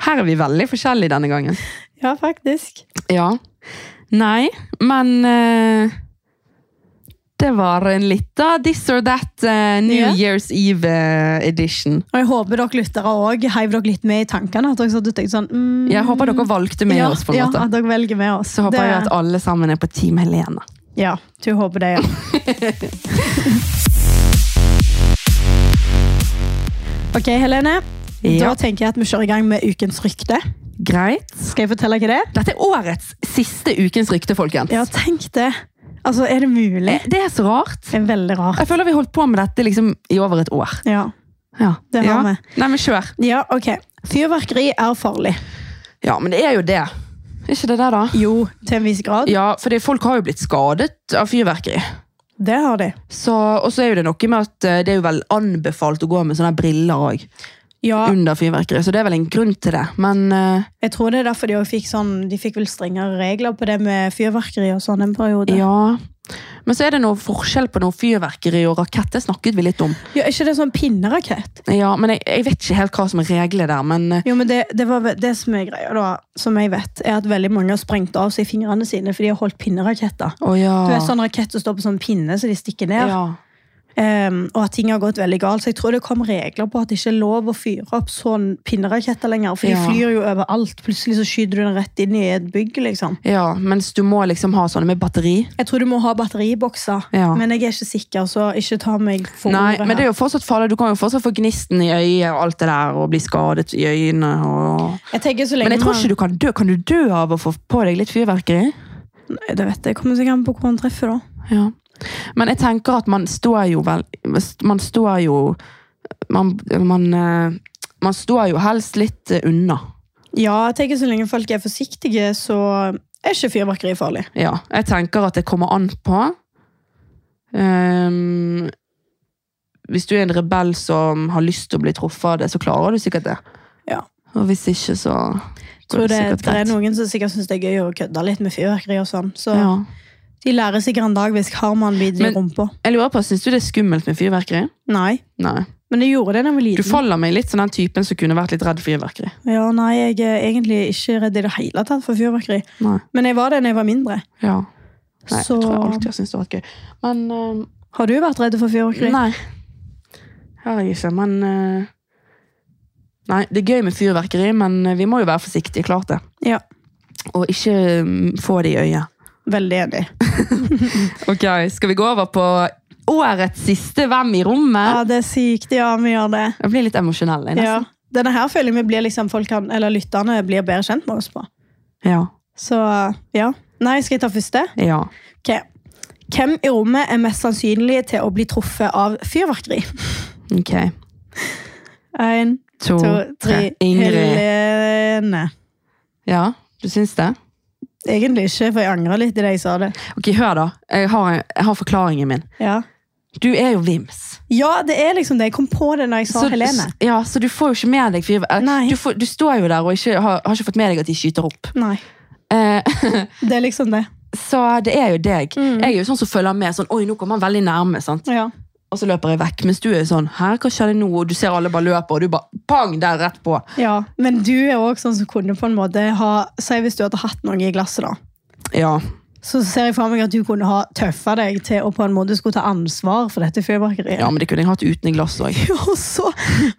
[SPEAKER 1] Her er vi veldig forskjellige denne gangen.
[SPEAKER 2] Ja, faktisk.
[SPEAKER 1] Ja. Nei, men eh, Det var en liten this or that eh, New
[SPEAKER 2] Ja.
[SPEAKER 1] Year's Eve eh, edition.
[SPEAKER 2] Og jeg håper dere lyttere òg heiv dere litt med i tankene. At dere satt og tenkte sånn mm,
[SPEAKER 1] Jeg håper dere valgte med oss. på en
[SPEAKER 2] ja,
[SPEAKER 1] måte.
[SPEAKER 2] Ja, at dere velger med oss.
[SPEAKER 1] Så håper jeg at alle sammen er på Team Helene.
[SPEAKER 2] Ja, du håper det, ja. ok, Helene.
[SPEAKER 1] Ja.
[SPEAKER 2] Da tenker jeg at vi kjører i gang med ukens rykte.
[SPEAKER 1] Greit.
[SPEAKER 2] Skal jeg fortelle hva det er?
[SPEAKER 1] Dette er årets siste ukens rykte, folkens.
[SPEAKER 2] Ja, tenk det. Altså, er det mulig?
[SPEAKER 1] Eh, Det er så rart.
[SPEAKER 2] Det er veldig rart.
[SPEAKER 1] Jeg føler vi holdt på med dette liksom, i over et år.
[SPEAKER 2] Ja,
[SPEAKER 1] Ja.
[SPEAKER 2] Det har
[SPEAKER 1] ja. Nei, men kjør.
[SPEAKER 2] ja ok. Fyrverkeri er farlig.
[SPEAKER 1] Ja, men det er jo det. Er ikke det det, da?
[SPEAKER 2] Jo, til en viss grad.
[SPEAKER 1] Ja, for folk har jo blitt skadet av fyrverkeri.
[SPEAKER 2] Det har de.
[SPEAKER 1] Så, og så er jo det noe med at eh, det er jo vel anbefalt å gå med sånne briller òg.
[SPEAKER 2] Ja,
[SPEAKER 1] Under fyrverkeri, så det er vel en grunn til det. Men eh,
[SPEAKER 2] jeg tror det er derfor de også fikk sånn, de fikk vel strengere regler på det med fyrverkeri og sånn en periode.
[SPEAKER 1] ja. Men så er det noe forskjell på noe fyrverkeri og rakett. Det snakket vi litt om.
[SPEAKER 2] Ja, er ikke det sånn pinnerakett?
[SPEAKER 1] Ja, men jeg, jeg vet ikke helt hva som er reglene der, men eh,
[SPEAKER 2] Jo, men det, det, var, ve- det som er greia, da, som jeg vet, er at veldig mange har sprengt av seg fingrene sine, for de har holdt pinneraketter.
[SPEAKER 1] Å ja.
[SPEAKER 2] Du vet, sånn rakett som står på sånn pinne, så de stikker ned.
[SPEAKER 1] Ah. ja.
[SPEAKER 2] Ehm, og at ting har gått veldig galt. Så jeg tror det kom regler på at det ikke er lov å fyre opp sånn pinneraketter lenger, for
[SPEAKER 1] Ja.
[SPEAKER 2] de flyr jo overalt. Plutselig så skyter du den rett inn i et bygg, liksom.
[SPEAKER 1] Ja, mens du må liksom ha sånne med batteri.
[SPEAKER 2] Jeg tror du må ha batteribokser,
[SPEAKER 1] Ja.
[SPEAKER 2] men jeg er ikke sikker, så ikke ta meg for
[SPEAKER 1] Nei,
[SPEAKER 2] ordet
[SPEAKER 1] men det
[SPEAKER 2] her.
[SPEAKER 1] er jo fortsatt farlig. Du kan jo fortsatt få gnisten i øyet og alt det der, og bli skadet i øynene. Og...
[SPEAKER 2] Jeg tenker så lenge
[SPEAKER 1] Men jeg tror
[SPEAKER 2] man-
[SPEAKER 1] ikke du kan dø. Kan du dø av å få på deg litt fyrverkeri?
[SPEAKER 2] Nei, Det vet jeg. Kommer sikkert an på hvor han treffer, da.
[SPEAKER 1] Ja. Men jeg tenker at man står jo vel Man står jo Man, man, eh, man står jo helst litt eh, unna.
[SPEAKER 2] Ja, jeg tenker så lenge folk er forsiktige, så er ikke fyrverkeri farlig.
[SPEAKER 1] Ja, jeg tenker at det kommer an på. Ehm, hvis du er en rebell som har lyst til å bli truffet av det, så klarer du sikkert det.
[SPEAKER 2] Ja.
[SPEAKER 1] Og hvis ikke, så går
[SPEAKER 2] Tror det,
[SPEAKER 1] sikkert
[SPEAKER 2] det er
[SPEAKER 1] greit.
[SPEAKER 2] noen som sikkert syns det er gøy å kødde litt med fyrverkeri og sånn, så
[SPEAKER 1] Ja.
[SPEAKER 2] de lærer sikkert en dag hvis har man biter i
[SPEAKER 1] Men-
[SPEAKER 2] rumpa.
[SPEAKER 1] Jeg lurer på, Syns du det er skummelt med fyrverkeri?
[SPEAKER 2] Nei,
[SPEAKER 1] Nei.
[SPEAKER 2] men jeg gjorde det da jeg var
[SPEAKER 1] Du
[SPEAKER 2] liten.
[SPEAKER 1] faller meg litt som den typen som kunne vært litt redd fyrverkeri.
[SPEAKER 2] Ja, nei, jeg er egentlig ikke redd i det hele tatt for fyrverkeri.
[SPEAKER 1] Nei.
[SPEAKER 2] Men jeg var det da jeg var mindre.
[SPEAKER 1] Ja. Nei,
[SPEAKER 2] så
[SPEAKER 1] Jeg tror jeg alltid har syntes det har vært gøy. Men ehm,
[SPEAKER 2] har du vært redd for fyrverkeri?
[SPEAKER 1] Nei. Har jeg ikke, men eh, Nei, det er gøy med fyrverkeri, men eh, vi må jo være forsiktige, klart det.
[SPEAKER 2] Ja.
[SPEAKER 1] Og ikke mm, få det i øyet.
[SPEAKER 2] Veldig enig.
[SPEAKER 1] Ok, Skal vi gå over på årets siste Hvem i
[SPEAKER 2] Ja,
[SPEAKER 1] rommet?
[SPEAKER 2] det er sykt. Ja, vi gjør det.
[SPEAKER 1] Jeg blir litt emosjonell. jeg,
[SPEAKER 2] Ja.
[SPEAKER 1] nesten.
[SPEAKER 2] Denne her føler vi blir liksom folk kan, eller lytterne blir bedre kjent med oss på.
[SPEAKER 1] Ja.
[SPEAKER 2] Så ja. Nei, skal jeg ta første?
[SPEAKER 1] ja.
[SPEAKER 2] Ok. Hvem i rommet er mest sannsynlig til å bli truffet av fyrverkeri?
[SPEAKER 1] Ok.
[SPEAKER 2] En,
[SPEAKER 1] To,
[SPEAKER 2] to, tre.
[SPEAKER 1] Ingrid.
[SPEAKER 2] Helene.
[SPEAKER 1] Ja, du syns det?
[SPEAKER 2] Egentlig ikke, for jeg angrer litt i det jeg sa det.
[SPEAKER 1] Ok, Hør, da. Jeg har, jeg har forklaringen min.
[SPEAKER 2] Ja.
[SPEAKER 1] Du er jo vims.
[SPEAKER 2] ja, det er liksom det. Jeg kom på det når jeg sa Helene.
[SPEAKER 1] s- Ja, så du får jo ikke med deg
[SPEAKER 2] Nei.
[SPEAKER 1] fyrverkeri. Du, får- du står jo der og ikke, har, har ikke fått med deg at de skyter opp.
[SPEAKER 2] Nei,
[SPEAKER 1] Eh,
[SPEAKER 2] det er liksom det.
[SPEAKER 1] så det er jo deg.
[SPEAKER 2] Mm.
[SPEAKER 1] Jeg er jo sånn som følger med. sånn, Oi, nå kommer han veldig nærme. sant?
[SPEAKER 2] Ja.
[SPEAKER 1] Og så løper jeg vekk. Mens du er jo sånn Her, hva skjer det nå? Og du ser alle bare løper, og du bare pang, der rett på.
[SPEAKER 2] ja. Men du er òg sånn som kunne på en måte ha Si hvis du hadde hatt noe i glasset, da.
[SPEAKER 1] Ja.
[SPEAKER 2] Så ser jeg for meg at du kunne ha tøffa deg til å på en måte skulle ta ansvar for dette fyrverkeriet.
[SPEAKER 1] ja, men det kunne jeg hatt uten i glass òg.
[SPEAKER 2] Og, så,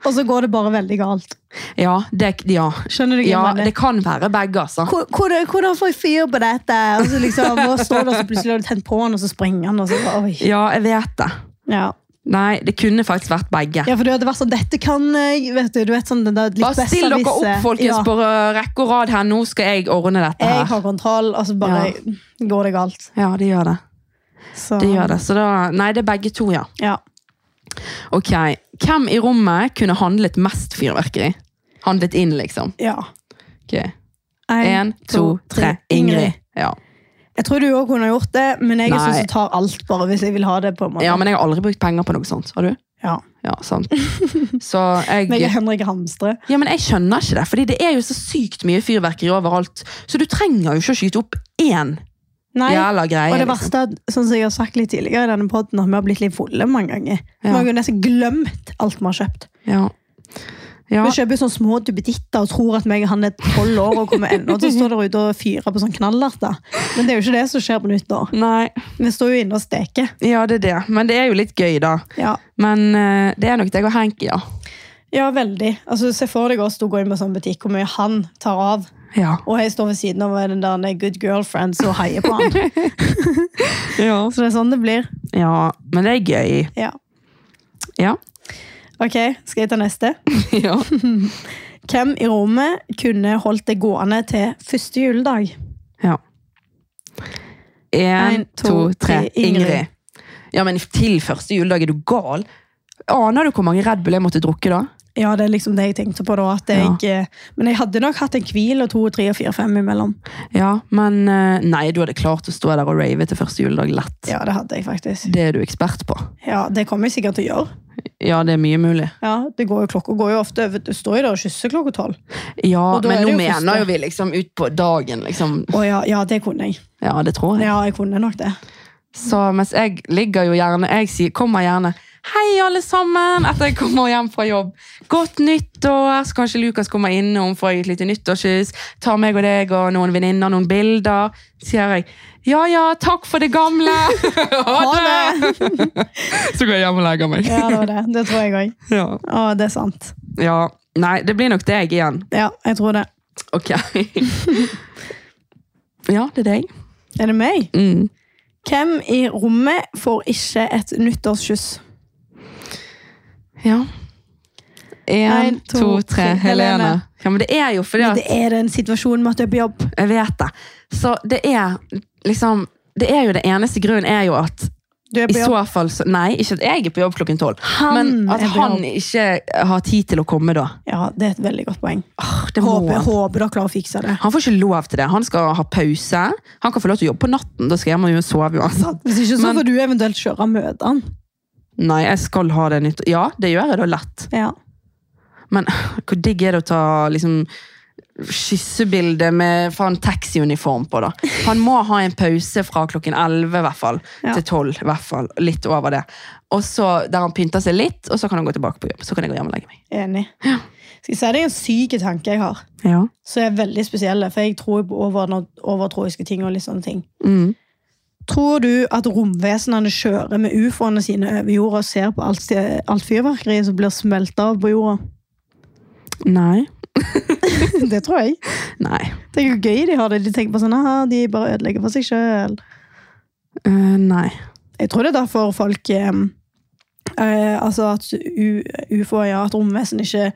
[SPEAKER 2] og så går det bare veldig galt.
[SPEAKER 1] Ja, det, ja.
[SPEAKER 2] Skjønner du hva jeg
[SPEAKER 1] ja,
[SPEAKER 2] mener?
[SPEAKER 1] det kan være begge, altså.
[SPEAKER 2] Hvor- hvor- Hvordan får jeg fyr på dette? Og så liksom, og står det, og så plutselig har du tent på den, og så springer den. Og så, bare, oi.
[SPEAKER 1] Ja, jeg vet det.
[SPEAKER 2] Ja.
[SPEAKER 1] Nei, det kunne faktisk vært begge.
[SPEAKER 2] ja, for du hadde vært sånn Dette kan jeg vet du, du vet sånn, det der, litt
[SPEAKER 1] Bare still dere
[SPEAKER 2] besserwisser.
[SPEAKER 1] opp, folkens,
[SPEAKER 2] Ja.
[SPEAKER 1] på eh, rekke og rad her. Nå skal jeg ordne dette
[SPEAKER 2] Jeg
[SPEAKER 1] her.
[SPEAKER 2] har kontroll, og så bare går det galt.
[SPEAKER 1] Ja, det gjør det.
[SPEAKER 2] Så,
[SPEAKER 1] Det gjør det. Så da, nei, det er begge to, ja.
[SPEAKER 2] Ja.
[SPEAKER 1] Ok, Hvem i rommet kunne handlet mest fyrverkeri? Handlet inn, liksom.
[SPEAKER 2] ja.
[SPEAKER 1] Ok, Én, to, tre. Ingrid. Ja.
[SPEAKER 2] Jeg tror du òg kunne gjort det, men jeg er
[SPEAKER 1] Nei.
[SPEAKER 2] sånn som tar alt bare hvis jeg vil ha det. på en måte.
[SPEAKER 1] ja, men jeg har aldri brukt penger på noe sånt. Har du?
[SPEAKER 2] Ja.
[SPEAKER 1] Ja, sant. Så
[SPEAKER 2] Men jeg er
[SPEAKER 1] jeg
[SPEAKER 2] Henrik Hamstre.
[SPEAKER 1] Ja, men jeg skjønner ikke det, fordi det er jo så sykt mye fyrverkeri overalt. Så du trenger jo ikke å skyte opp én
[SPEAKER 2] Nei.
[SPEAKER 1] jævla greie.
[SPEAKER 2] Og det
[SPEAKER 1] liksom.
[SPEAKER 2] verste, er at, sånn som jeg har sagt litt tidligere i denne podden, at vi har blitt litt fulle mange ganger. Vi
[SPEAKER 1] Ja.
[SPEAKER 2] har jo nesten glemt alt vi har kjøpt.
[SPEAKER 1] Ja. Ja.
[SPEAKER 2] Vi kjøper jo sånne små duppeditter og tror at meg, han er tolv år og kommer ennå til å stå der ute og fyre på sånn knallerter. Men det er jo ikke det som skjer på nyttår.
[SPEAKER 1] Nei.
[SPEAKER 2] Vi står jo inne og steker.
[SPEAKER 1] Ja, det er det. Men det er jo litt gøy, da.
[SPEAKER 2] Ja,
[SPEAKER 1] Men eh, det er nok deg og Henki, ja.
[SPEAKER 2] ja veldig. Altså, Se for deg oss to gå inn på sånn butikk, hvor mye han tar av.
[SPEAKER 1] Ja.
[SPEAKER 2] Og jeg står ved siden av den der good girlfriend som heier på han.
[SPEAKER 1] ja.
[SPEAKER 2] Så det er sånn det blir.
[SPEAKER 1] Ja, men det er gøy.
[SPEAKER 2] Ja.
[SPEAKER 1] Ja.
[SPEAKER 2] Ok, skal jeg ta neste?
[SPEAKER 1] ja.
[SPEAKER 2] Hvem i rommet kunne holdt det gående til første juledag?
[SPEAKER 1] Ja. En, to, tre. Ingrid. Ja, men til første juledag er du gal. Aner du hvor mange Red Bull jeg måtte drukke da?
[SPEAKER 2] Ja, det er liksom det jeg tenkte på da. At
[SPEAKER 1] Ja.
[SPEAKER 2] jeg, eh, Men jeg hadde nok hatt en hvil og to, tre og fire, fem imellom.
[SPEAKER 1] Ja, men eh, nei, du hadde klart å stå der og rave til første juledag lett.
[SPEAKER 2] Ja, det hadde jeg faktisk.
[SPEAKER 1] Det er du ekspert på.
[SPEAKER 2] Ja, Det kommer jeg sikkert til å gjøre.
[SPEAKER 1] Ja, det er mye mulig.
[SPEAKER 2] Ja, det går jo, Klokka går jo ofte over Du står jo der og kysser klokka tolv.
[SPEAKER 1] Ja,
[SPEAKER 2] Og da
[SPEAKER 1] men
[SPEAKER 2] er
[SPEAKER 1] nå
[SPEAKER 2] det jo første.
[SPEAKER 1] mener jo vi liksom ut på dagen, liksom.
[SPEAKER 2] Å ja, ja, det kunne jeg.
[SPEAKER 1] Ja, det tror jeg.
[SPEAKER 2] Ja, jeg kunne nok det.
[SPEAKER 1] Så mens jeg ligger jo gjerne, jeg sier, kommer gjerne Hei, alle sammen! Etter jeg kommer hjem fra jobb. Godt nyttår! Så kanskje Lukas kommer innom, får jeg et lite nyttårskyss. Tar meg og deg og noen venninner noen bilder. Så sier jeg ja ja, takk for det gamle! ha
[SPEAKER 2] det!
[SPEAKER 1] Så går jeg hjem og legger meg.
[SPEAKER 2] Ja, det var det. Det tror jeg òg.
[SPEAKER 1] Ja.
[SPEAKER 2] Å, det er sant.
[SPEAKER 1] ja. Nei, det blir nok deg igjen.
[SPEAKER 2] Ja, jeg tror det.
[SPEAKER 1] Ok. ja, det er deg.
[SPEAKER 2] Er det meg?
[SPEAKER 1] Mm.
[SPEAKER 2] Hvem i rommet får ikke et nyttårskyss?
[SPEAKER 1] Ja.
[SPEAKER 2] En,
[SPEAKER 1] Én,
[SPEAKER 2] to,
[SPEAKER 1] to,
[SPEAKER 2] tre.
[SPEAKER 1] tre. Helene. Ja, men det er jo fordi
[SPEAKER 2] Men
[SPEAKER 1] at
[SPEAKER 2] det er den situasjonen med at du er på jobb.
[SPEAKER 1] Jeg vet det. Så det er liksom Det er jo det eneste grunnen er jo at
[SPEAKER 2] Du er
[SPEAKER 1] I
[SPEAKER 2] på jobb.
[SPEAKER 1] så fall, så, Nei, ikke at jeg er på jobb klokken tolv.
[SPEAKER 2] Han
[SPEAKER 1] Men at
[SPEAKER 2] er på
[SPEAKER 1] han ikke har tid til å komme da.
[SPEAKER 2] Ja, det er et veldig godt poeng.
[SPEAKER 1] Åh, det må
[SPEAKER 2] Håper,
[SPEAKER 1] han.
[SPEAKER 2] håper dere klarer å fikse det.
[SPEAKER 1] Han får ikke lov til det. Han skal ha pause. Han kan få lov til å jobbe på natten. Da skal jeg hjem og sove uansett.
[SPEAKER 2] Hvis ikke, så
[SPEAKER 1] Men-
[SPEAKER 2] får du eventuelt kjøre møtene.
[SPEAKER 1] Nei, jeg skal ha det nytt. Ja, det gjør jeg da lett.
[SPEAKER 2] Ja.
[SPEAKER 1] Men hvor digg er det å ta liksom kyssebilde med faen taxiuniform på, da? Han må ha en pause fra klokken 11 i hvert fall,
[SPEAKER 2] Ja.
[SPEAKER 1] til 12 i hvert fall. Litt over det. Og så Der han pynter seg litt, og så kan han gå tilbake på jobb. Så kan jeg gå hjem og legge meg.
[SPEAKER 2] Enig. Skal jeg si deg en syk tanke jeg har,
[SPEAKER 1] Ja.
[SPEAKER 2] som er veldig spesiell, for jeg tror på overordnet- overtroiske ting og litt sånne ting.
[SPEAKER 1] Mm.
[SPEAKER 2] Tror du at romvesenene kjører med ufoene sine over jorda og ser på alt, alt fyrverkeriet som blir smelta av på jorda?
[SPEAKER 1] Nei.
[SPEAKER 2] Det tror jeg.
[SPEAKER 1] Nei.
[SPEAKER 2] Det er jo gøy de har det. De tenker på sånn, ah, de bare ødelegger for seg sjøl.
[SPEAKER 1] Eh, nei.
[SPEAKER 2] Jeg tror det er derfor folk eh, eh, Altså at u- ufoer, ja, at romvesen ikke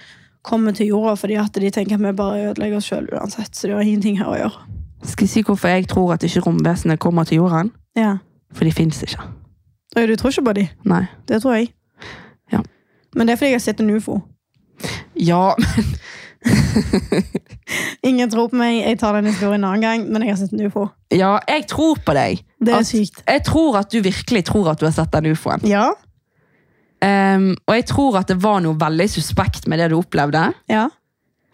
[SPEAKER 2] kommer til jorda fordi at de tenker at vi bare ødelegger oss sjøl uansett. Så det har ingenting her å gjøre.
[SPEAKER 1] Skal jeg si hvorfor jeg tror at ikke romvesenet kommer til jorden?
[SPEAKER 2] Ja.
[SPEAKER 1] For de fins ikke.
[SPEAKER 2] Oi, Du tror ikke på de?
[SPEAKER 1] Nei.
[SPEAKER 2] Det tror jeg.
[SPEAKER 1] Ja.
[SPEAKER 2] Men det er fordi jeg har sett en ufo.
[SPEAKER 1] Ja,
[SPEAKER 2] Ingen tror på meg, jeg tar den historien en annen gang, men jeg har sett en ufo.
[SPEAKER 1] ja jeg tror på deg.
[SPEAKER 2] Det er
[SPEAKER 1] At-
[SPEAKER 2] sykt.
[SPEAKER 1] Jeg tror at du virkelig tror at du har sett den ufoen.
[SPEAKER 2] Ja.
[SPEAKER 1] Ehm, og jeg tror at det var noe veldig suspekt med det du opplevde.
[SPEAKER 2] ja.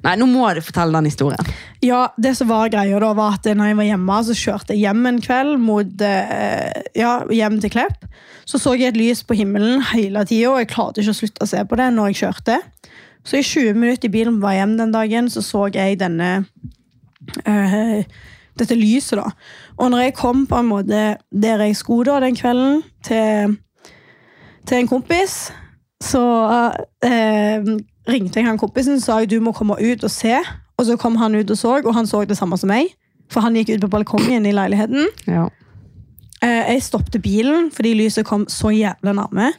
[SPEAKER 1] Nei, nå må du fortelle den historien.
[SPEAKER 2] Ja, det som var greia da, var at når jeg var hjemme, så kjørte jeg hjem en kveld mot, eh, ja, hjem til Klepp. Så så jeg et lys på himmelen hele tida, og jeg klarte ikke å slutte å se på det når jeg kjørte. Så i 20 minutter i bilen på vei hjem den dagen, så så jeg denne eh, dette lyset, da. Og når jeg kom på en måte der jeg skulle da den kvelden, til, til en kompis, så eh, ringte jeg han kompisen og sa jeg, du må komme ut og se. Og så kom han ut og så, og han så det samme som meg. For han gikk ut på balkongen i leiligheten.
[SPEAKER 1] Ja.
[SPEAKER 2] Eh, jeg stoppte bilen fordi lyset kom så jævla nærme.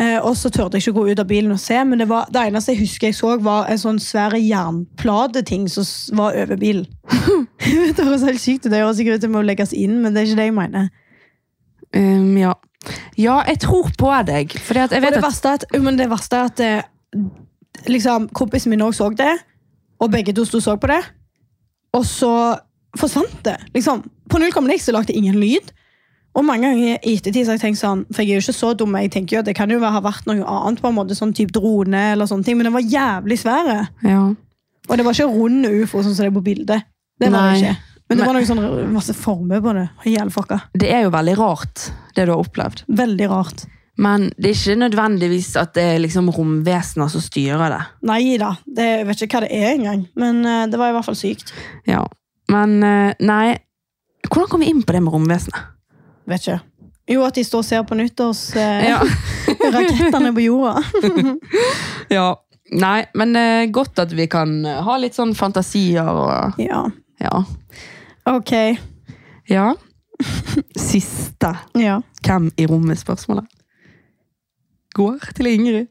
[SPEAKER 2] Eh, og så turte jeg ikke gå ut av bilen og se, men det, var, det eneste jeg husker jeg så, var en sånn svær jernplateting som s- var over bilen. det høres helt sykt ut. Det høres sikkert ut som å legges inn, men det er ikke det jeg mener.
[SPEAKER 1] Ehm, ja. ja, jeg tror på deg. Fordi at jeg
[SPEAKER 2] Og
[SPEAKER 1] vet
[SPEAKER 2] det
[SPEAKER 1] at
[SPEAKER 2] verste er at, jo, men det verste er at eh, liksom, kompisen min også så det, og begge to sto og så på det, og så forsvant det. Liksom. På null komma niks så lagde det ingen lyd. Og mange ganger i ettertid så har jeg tenkt sånn, for jeg er jo ikke så dum, jeg tenker jo at det kan jo være- ha vært noe annet, på en måte sånn typ drone eller sånne ting, men den var jævlig svære.
[SPEAKER 1] ja.
[SPEAKER 2] Og det var ikke runde ufo sånn som det er på bildet. Det var
[SPEAKER 1] Nei.
[SPEAKER 2] det ikke. Men det var noen sånn masse former på det. Jævlig fucka.
[SPEAKER 1] Det er jo veldig rart, det du har opplevd.
[SPEAKER 2] Veldig rart.
[SPEAKER 1] Men det er ikke nødvendigvis at det er liksom romvesener som styrer det.
[SPEAKER 2] Nei da, det, jeg vet ikke hva det er engang, men eh, det var i hvert fall sykt.
[SPEAKER 1] Ja. Men eh, nei Hvordan kom vi inn på det med romvesenet?
[SPEAKER 2] Vet ikke. Jo, at de står og ser på
[SPEAKER 1] Ja.
[SPEAKER 2] nyttårsrakettene eh, rakettene på jorda.
[SPEAKER 1] ja. Nei, men eh, godt at vi kan eh, ha litt sånn fantasier og
[SPEAKER 2] ja,
[SPEAKER 1] Ja.
[SPEAKER 2] ok.
[SPEAKER 1] ja. Siste
[SPEAKER 2] Ja.
[SPEAKER 1] Hvem i rommet spørsmålet? Går til Ingrid.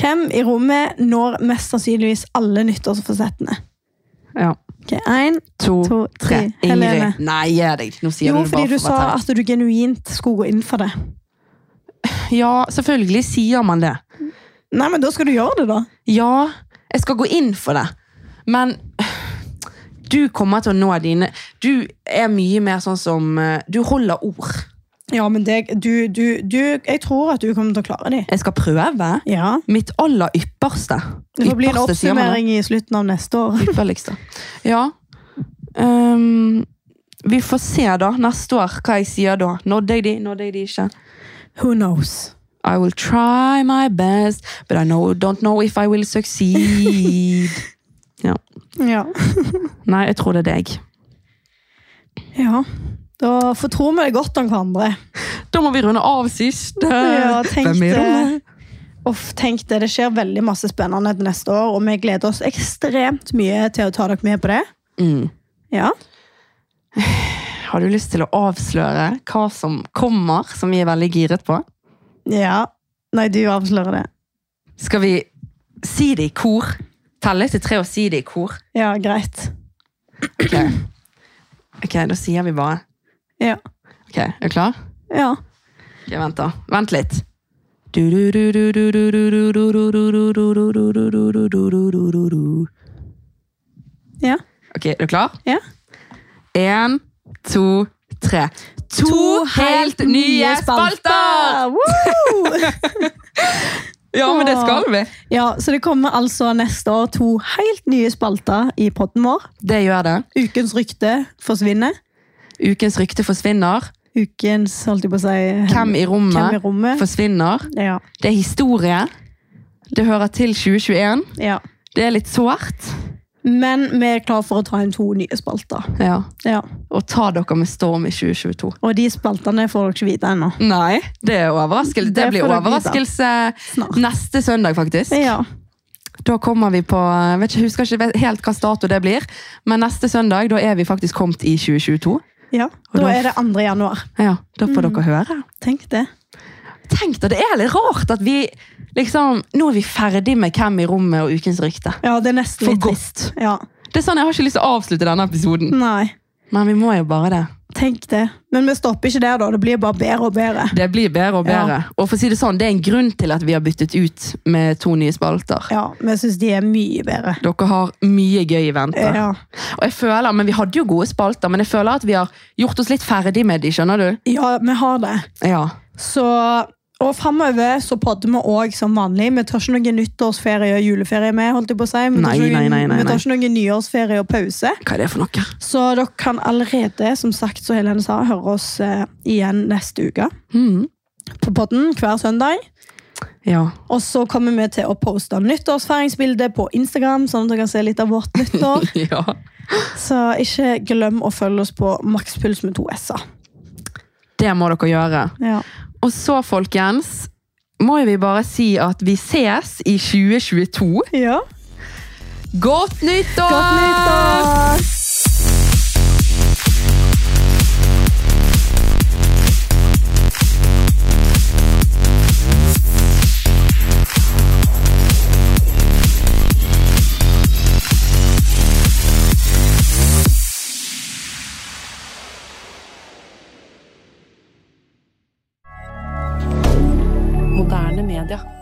[SPEAKER 2] Hvem i rommet når mest sannsynligvis alle nyttårsforsettene?
[SPEAKER 1] Ja.
[SPEAKER 2] Ok, Én,
[SPEAKER 1] To,
[SPEAKER 2] to,
[SPEAKER 1] tre.
[SPEAKER 2] tre. Helene.
[SPEAKER 1] Ingrid. Nei, gi deg. Nå sier
[SPEAKER 2] Jo,
[SPEAKER 1] du det
[SPEAKER 2] fordi
[SPEAKER 1] bare
[SPEAKER 2] du
[SPEAKER 1] for å
[SPEAKER 2] sa
[SPEAKER 1] være teit.
[SPEAKER 2] at du genuint skulle gå inn for det.
[SPEAKER 1] Ja, selvfølgelig sier man det.
[SPEAKER 2] Nei, men da skal du gjøre det, da.
[SPEAKER 1] Ja, jeg skal gå inn for det. Men du kommer til å nå dine Du er mye mer sånn som eh, Du holder ord.
[SPEAKER 2] Ja, men det, du, du, du Jeg tror at du kommer til å klare det.
[SPEAKER 1] Jeg skal prøve
[SPEAKER 2] Ja.
[SPEAKER 1] mitt aller ypperste.
[SPEAKER 2] Det får bli en
[SPEAKER 1] Ypperste, sier man det.
[SPEAKER 2] oppsummering i slutten av neste år.
[SPEAKER 1] Ypperligste. Ja. Ehm, vi får se da, neste år, hva jeg sier da. Nådde jeg de, nådde jeg de ikke.
[SPEAKER 2] Who knows?
[SPEAKER 1] I will try my best, but I know, don't know if I will succeed.
[SPEAKER 2] Ja.
[SPEAKER 1] Nei, jeg tror det er deg.
[SPEAKER 2] ja. Da fortror vi det godt om hverandre.
[SPEAKER 1] Da må vi runde av siste.
[SPEAKER 2] Ja, tenk
[SPEAKER 1] Hvem er
[SPEAKER 2] det.
[SPEAKER 1] det?
[SPEAKER 2] Uff, tenk det. Det skjer veldig masse spennende til neste år, og vi gleder oss ekstremt mye til å ta dere med på det.
[SPEAKER 1] Mm.
[SPEAKER 2] Ja.
[SPEAKER 1] Har du lyst til å avsløre hva som kommer, som vi er veldig giret på?
[SPEAKER 2] ja. Nei, du avslører det.
[SPEAKER 1] Skal vi si det i kor? Telle til tre og si det i kor?
[SPEAKER 2] Ja, greit.
[SPEAKER 1] Ok, Ok, da sier vi bare.
[SPEAKER 2] Ja.
[SPEAKER 1] Ok, er du klar?
[SPEAKER 2] Ja.
[SPEAKER 1] Ok, vent da. Vent litt. Ok,
[SPEAKER 2] Ja.
[SPEAKER 1] er du klar?
[SPEAKER 2] Ja.
[SPEAKER 1] En, to, tre. To helt nye spalter!
[SPEAKER 2] Woo!
[SPEAKER 1] Ja, men det skal vi.
[SPEAKER 2] Ja, så det kommer altså neste år to helt nye spalter i podden vår.
[SPEAKER 1] Det gjør det.
[SPEAKER 2] Ukens rykte forsvinner.
[SPEAKER 1] Ukens rykte forsvinner.
[SPEAKER 2] Ukens, holdt jeg på å si
[SPEAKER 1] Hvem i
[SPEAKER 2] Hvem i
[SPEAKER 1] rommet
[SPEAKER 2] rommet?
[SPEAKER 1] forsvinner.
[SPEAKER 2] Ja.
[SPEAKER 1] Det er historie. Det hører til 2021.
[SPEAKER 2] ja.
[SPEAKER 1] Det er litt sårt.
[SPEAKER 2] Men vi er klar for å ta inn to nye spalter.
[SPEAKER 1] Ja.
[SPEAKER 2] Ja.
[SPEAKER 1] Og ta dere med storm i 2022.
[SPEAKER 2] Og de spaltene får dere ikke vite ennå.
[SPEAKER 1] Nei, det er overraskelse. Det,
[SPEAKER 2] Det
[SPEAKER 1] blir
[SPEAKER 2] får dere vite.
[SPEAKER 1] overraskelse
[SPEAKER 2] Snart.
[SPEAKER 1] neste søndag, faktisk.
[SPEAKER 2] Ja.
[SPEAKER 1] Da kommer vi på jeg vet ikke, jeg Husker ikke helt hva dato det blir, men neste søndag da er vi faktisk kommet i 2022.
[SPEAKER 2] ja.
[SPEAKER 1] da-
[SPEAKER 2] Da er det 2. januar.
[SPEAKER 1] Ja, Da får
[SPEAKER 2] Mm.
[SPEAKER 1] dere høre.
[SPEAKER 2] Tenk det.
[SPEAKER 1] Tenk da, Det er litt rart at vi liksom Nå er vi ferdig med Hvem i rommet og Ukens rykte.
[SPEAKER 2] Ja, det er nesten
[SPEAKER 1] For
[SPEAKER 2] litt
[SPEAKER 1] godt.
[SPEAKER 2] trist. Ja.
[SPEAKER 1] Det er sånn, Jeg har ikke lyst til å avslutte denne episoden,
[SPEAKER 2] Nei.
[SPEAKER 1] men vi må jo bare det.
[SPEAKER 2] Tenk det. Men vi stopper ikke der, da. Det blir bare bedre og bedre.
[SPEAKER 1] Det blir bedre og bedre. Og for å si Det sånn, det er en grunn til at vi har byttet ut med to nye spalter.
[SPEAKER 2] Ja, men jeg syns de er mye bedre.
[SPEAKER 1] Dere har mye gøy i vente.
[SPEAKER 2] Ja.
[SPEAKER 1] Og jeg føler, men Vi hadde jo gode spalter, men jeg føler at vi har gjort oss litt ferdig med de, skjønner du?
[SPEAKER 2] ja, vi har det.
[SPEAKER 1] Ja.
[SPEAKER 2] Så, og framover så podder vi òg som vanlig. Vi tar ikke noen nyttårsferie og juleferie med. holdt jeg på å si. Vi tar
[SPEAKER 1] Nei,
[SPEAKER 2] ikke noen-
[SPEAKER 1] nei, nei, nei,
[SPEAKER 2] Vi
[SPEAKER 1] nei.
[SPEAKER 2] tar ikke noen nyårsferie og pause.
[SPEAKER 1] Hva er det for noe?
[SPEAKER 2] Så dere kan allerede, som sagt, så Helene sa, høre oss eh, igjen neste uke
[SPEAKER 1] Mhm.
[SPEAKER 2] på podden hver søndag.
[SPEAKER 1] Ja.
[SPEAKER 2] Og så kommer vi til å poste nyttårsfeiringsbilder på Instagram, sånn at dere kan se litt av vårt nyttår.
[SPEAKER 1] ja.
[SPEAKER 2] Så ikke glem å følge oss på makspuls med to s-er.
[SPEAKER 1] Det må dere gjøre.
[SPEAKER 2] Ja.
[SPEAKER 1] Og så, folkens, må jo vi bare si at vi ses i 2022.
[SPEAKER 2] ja.
[SPEAKER 1] Godt nyttår!
[SPEAKER 2] Godt nyttår!
[SPEAKER 4] Moderne media.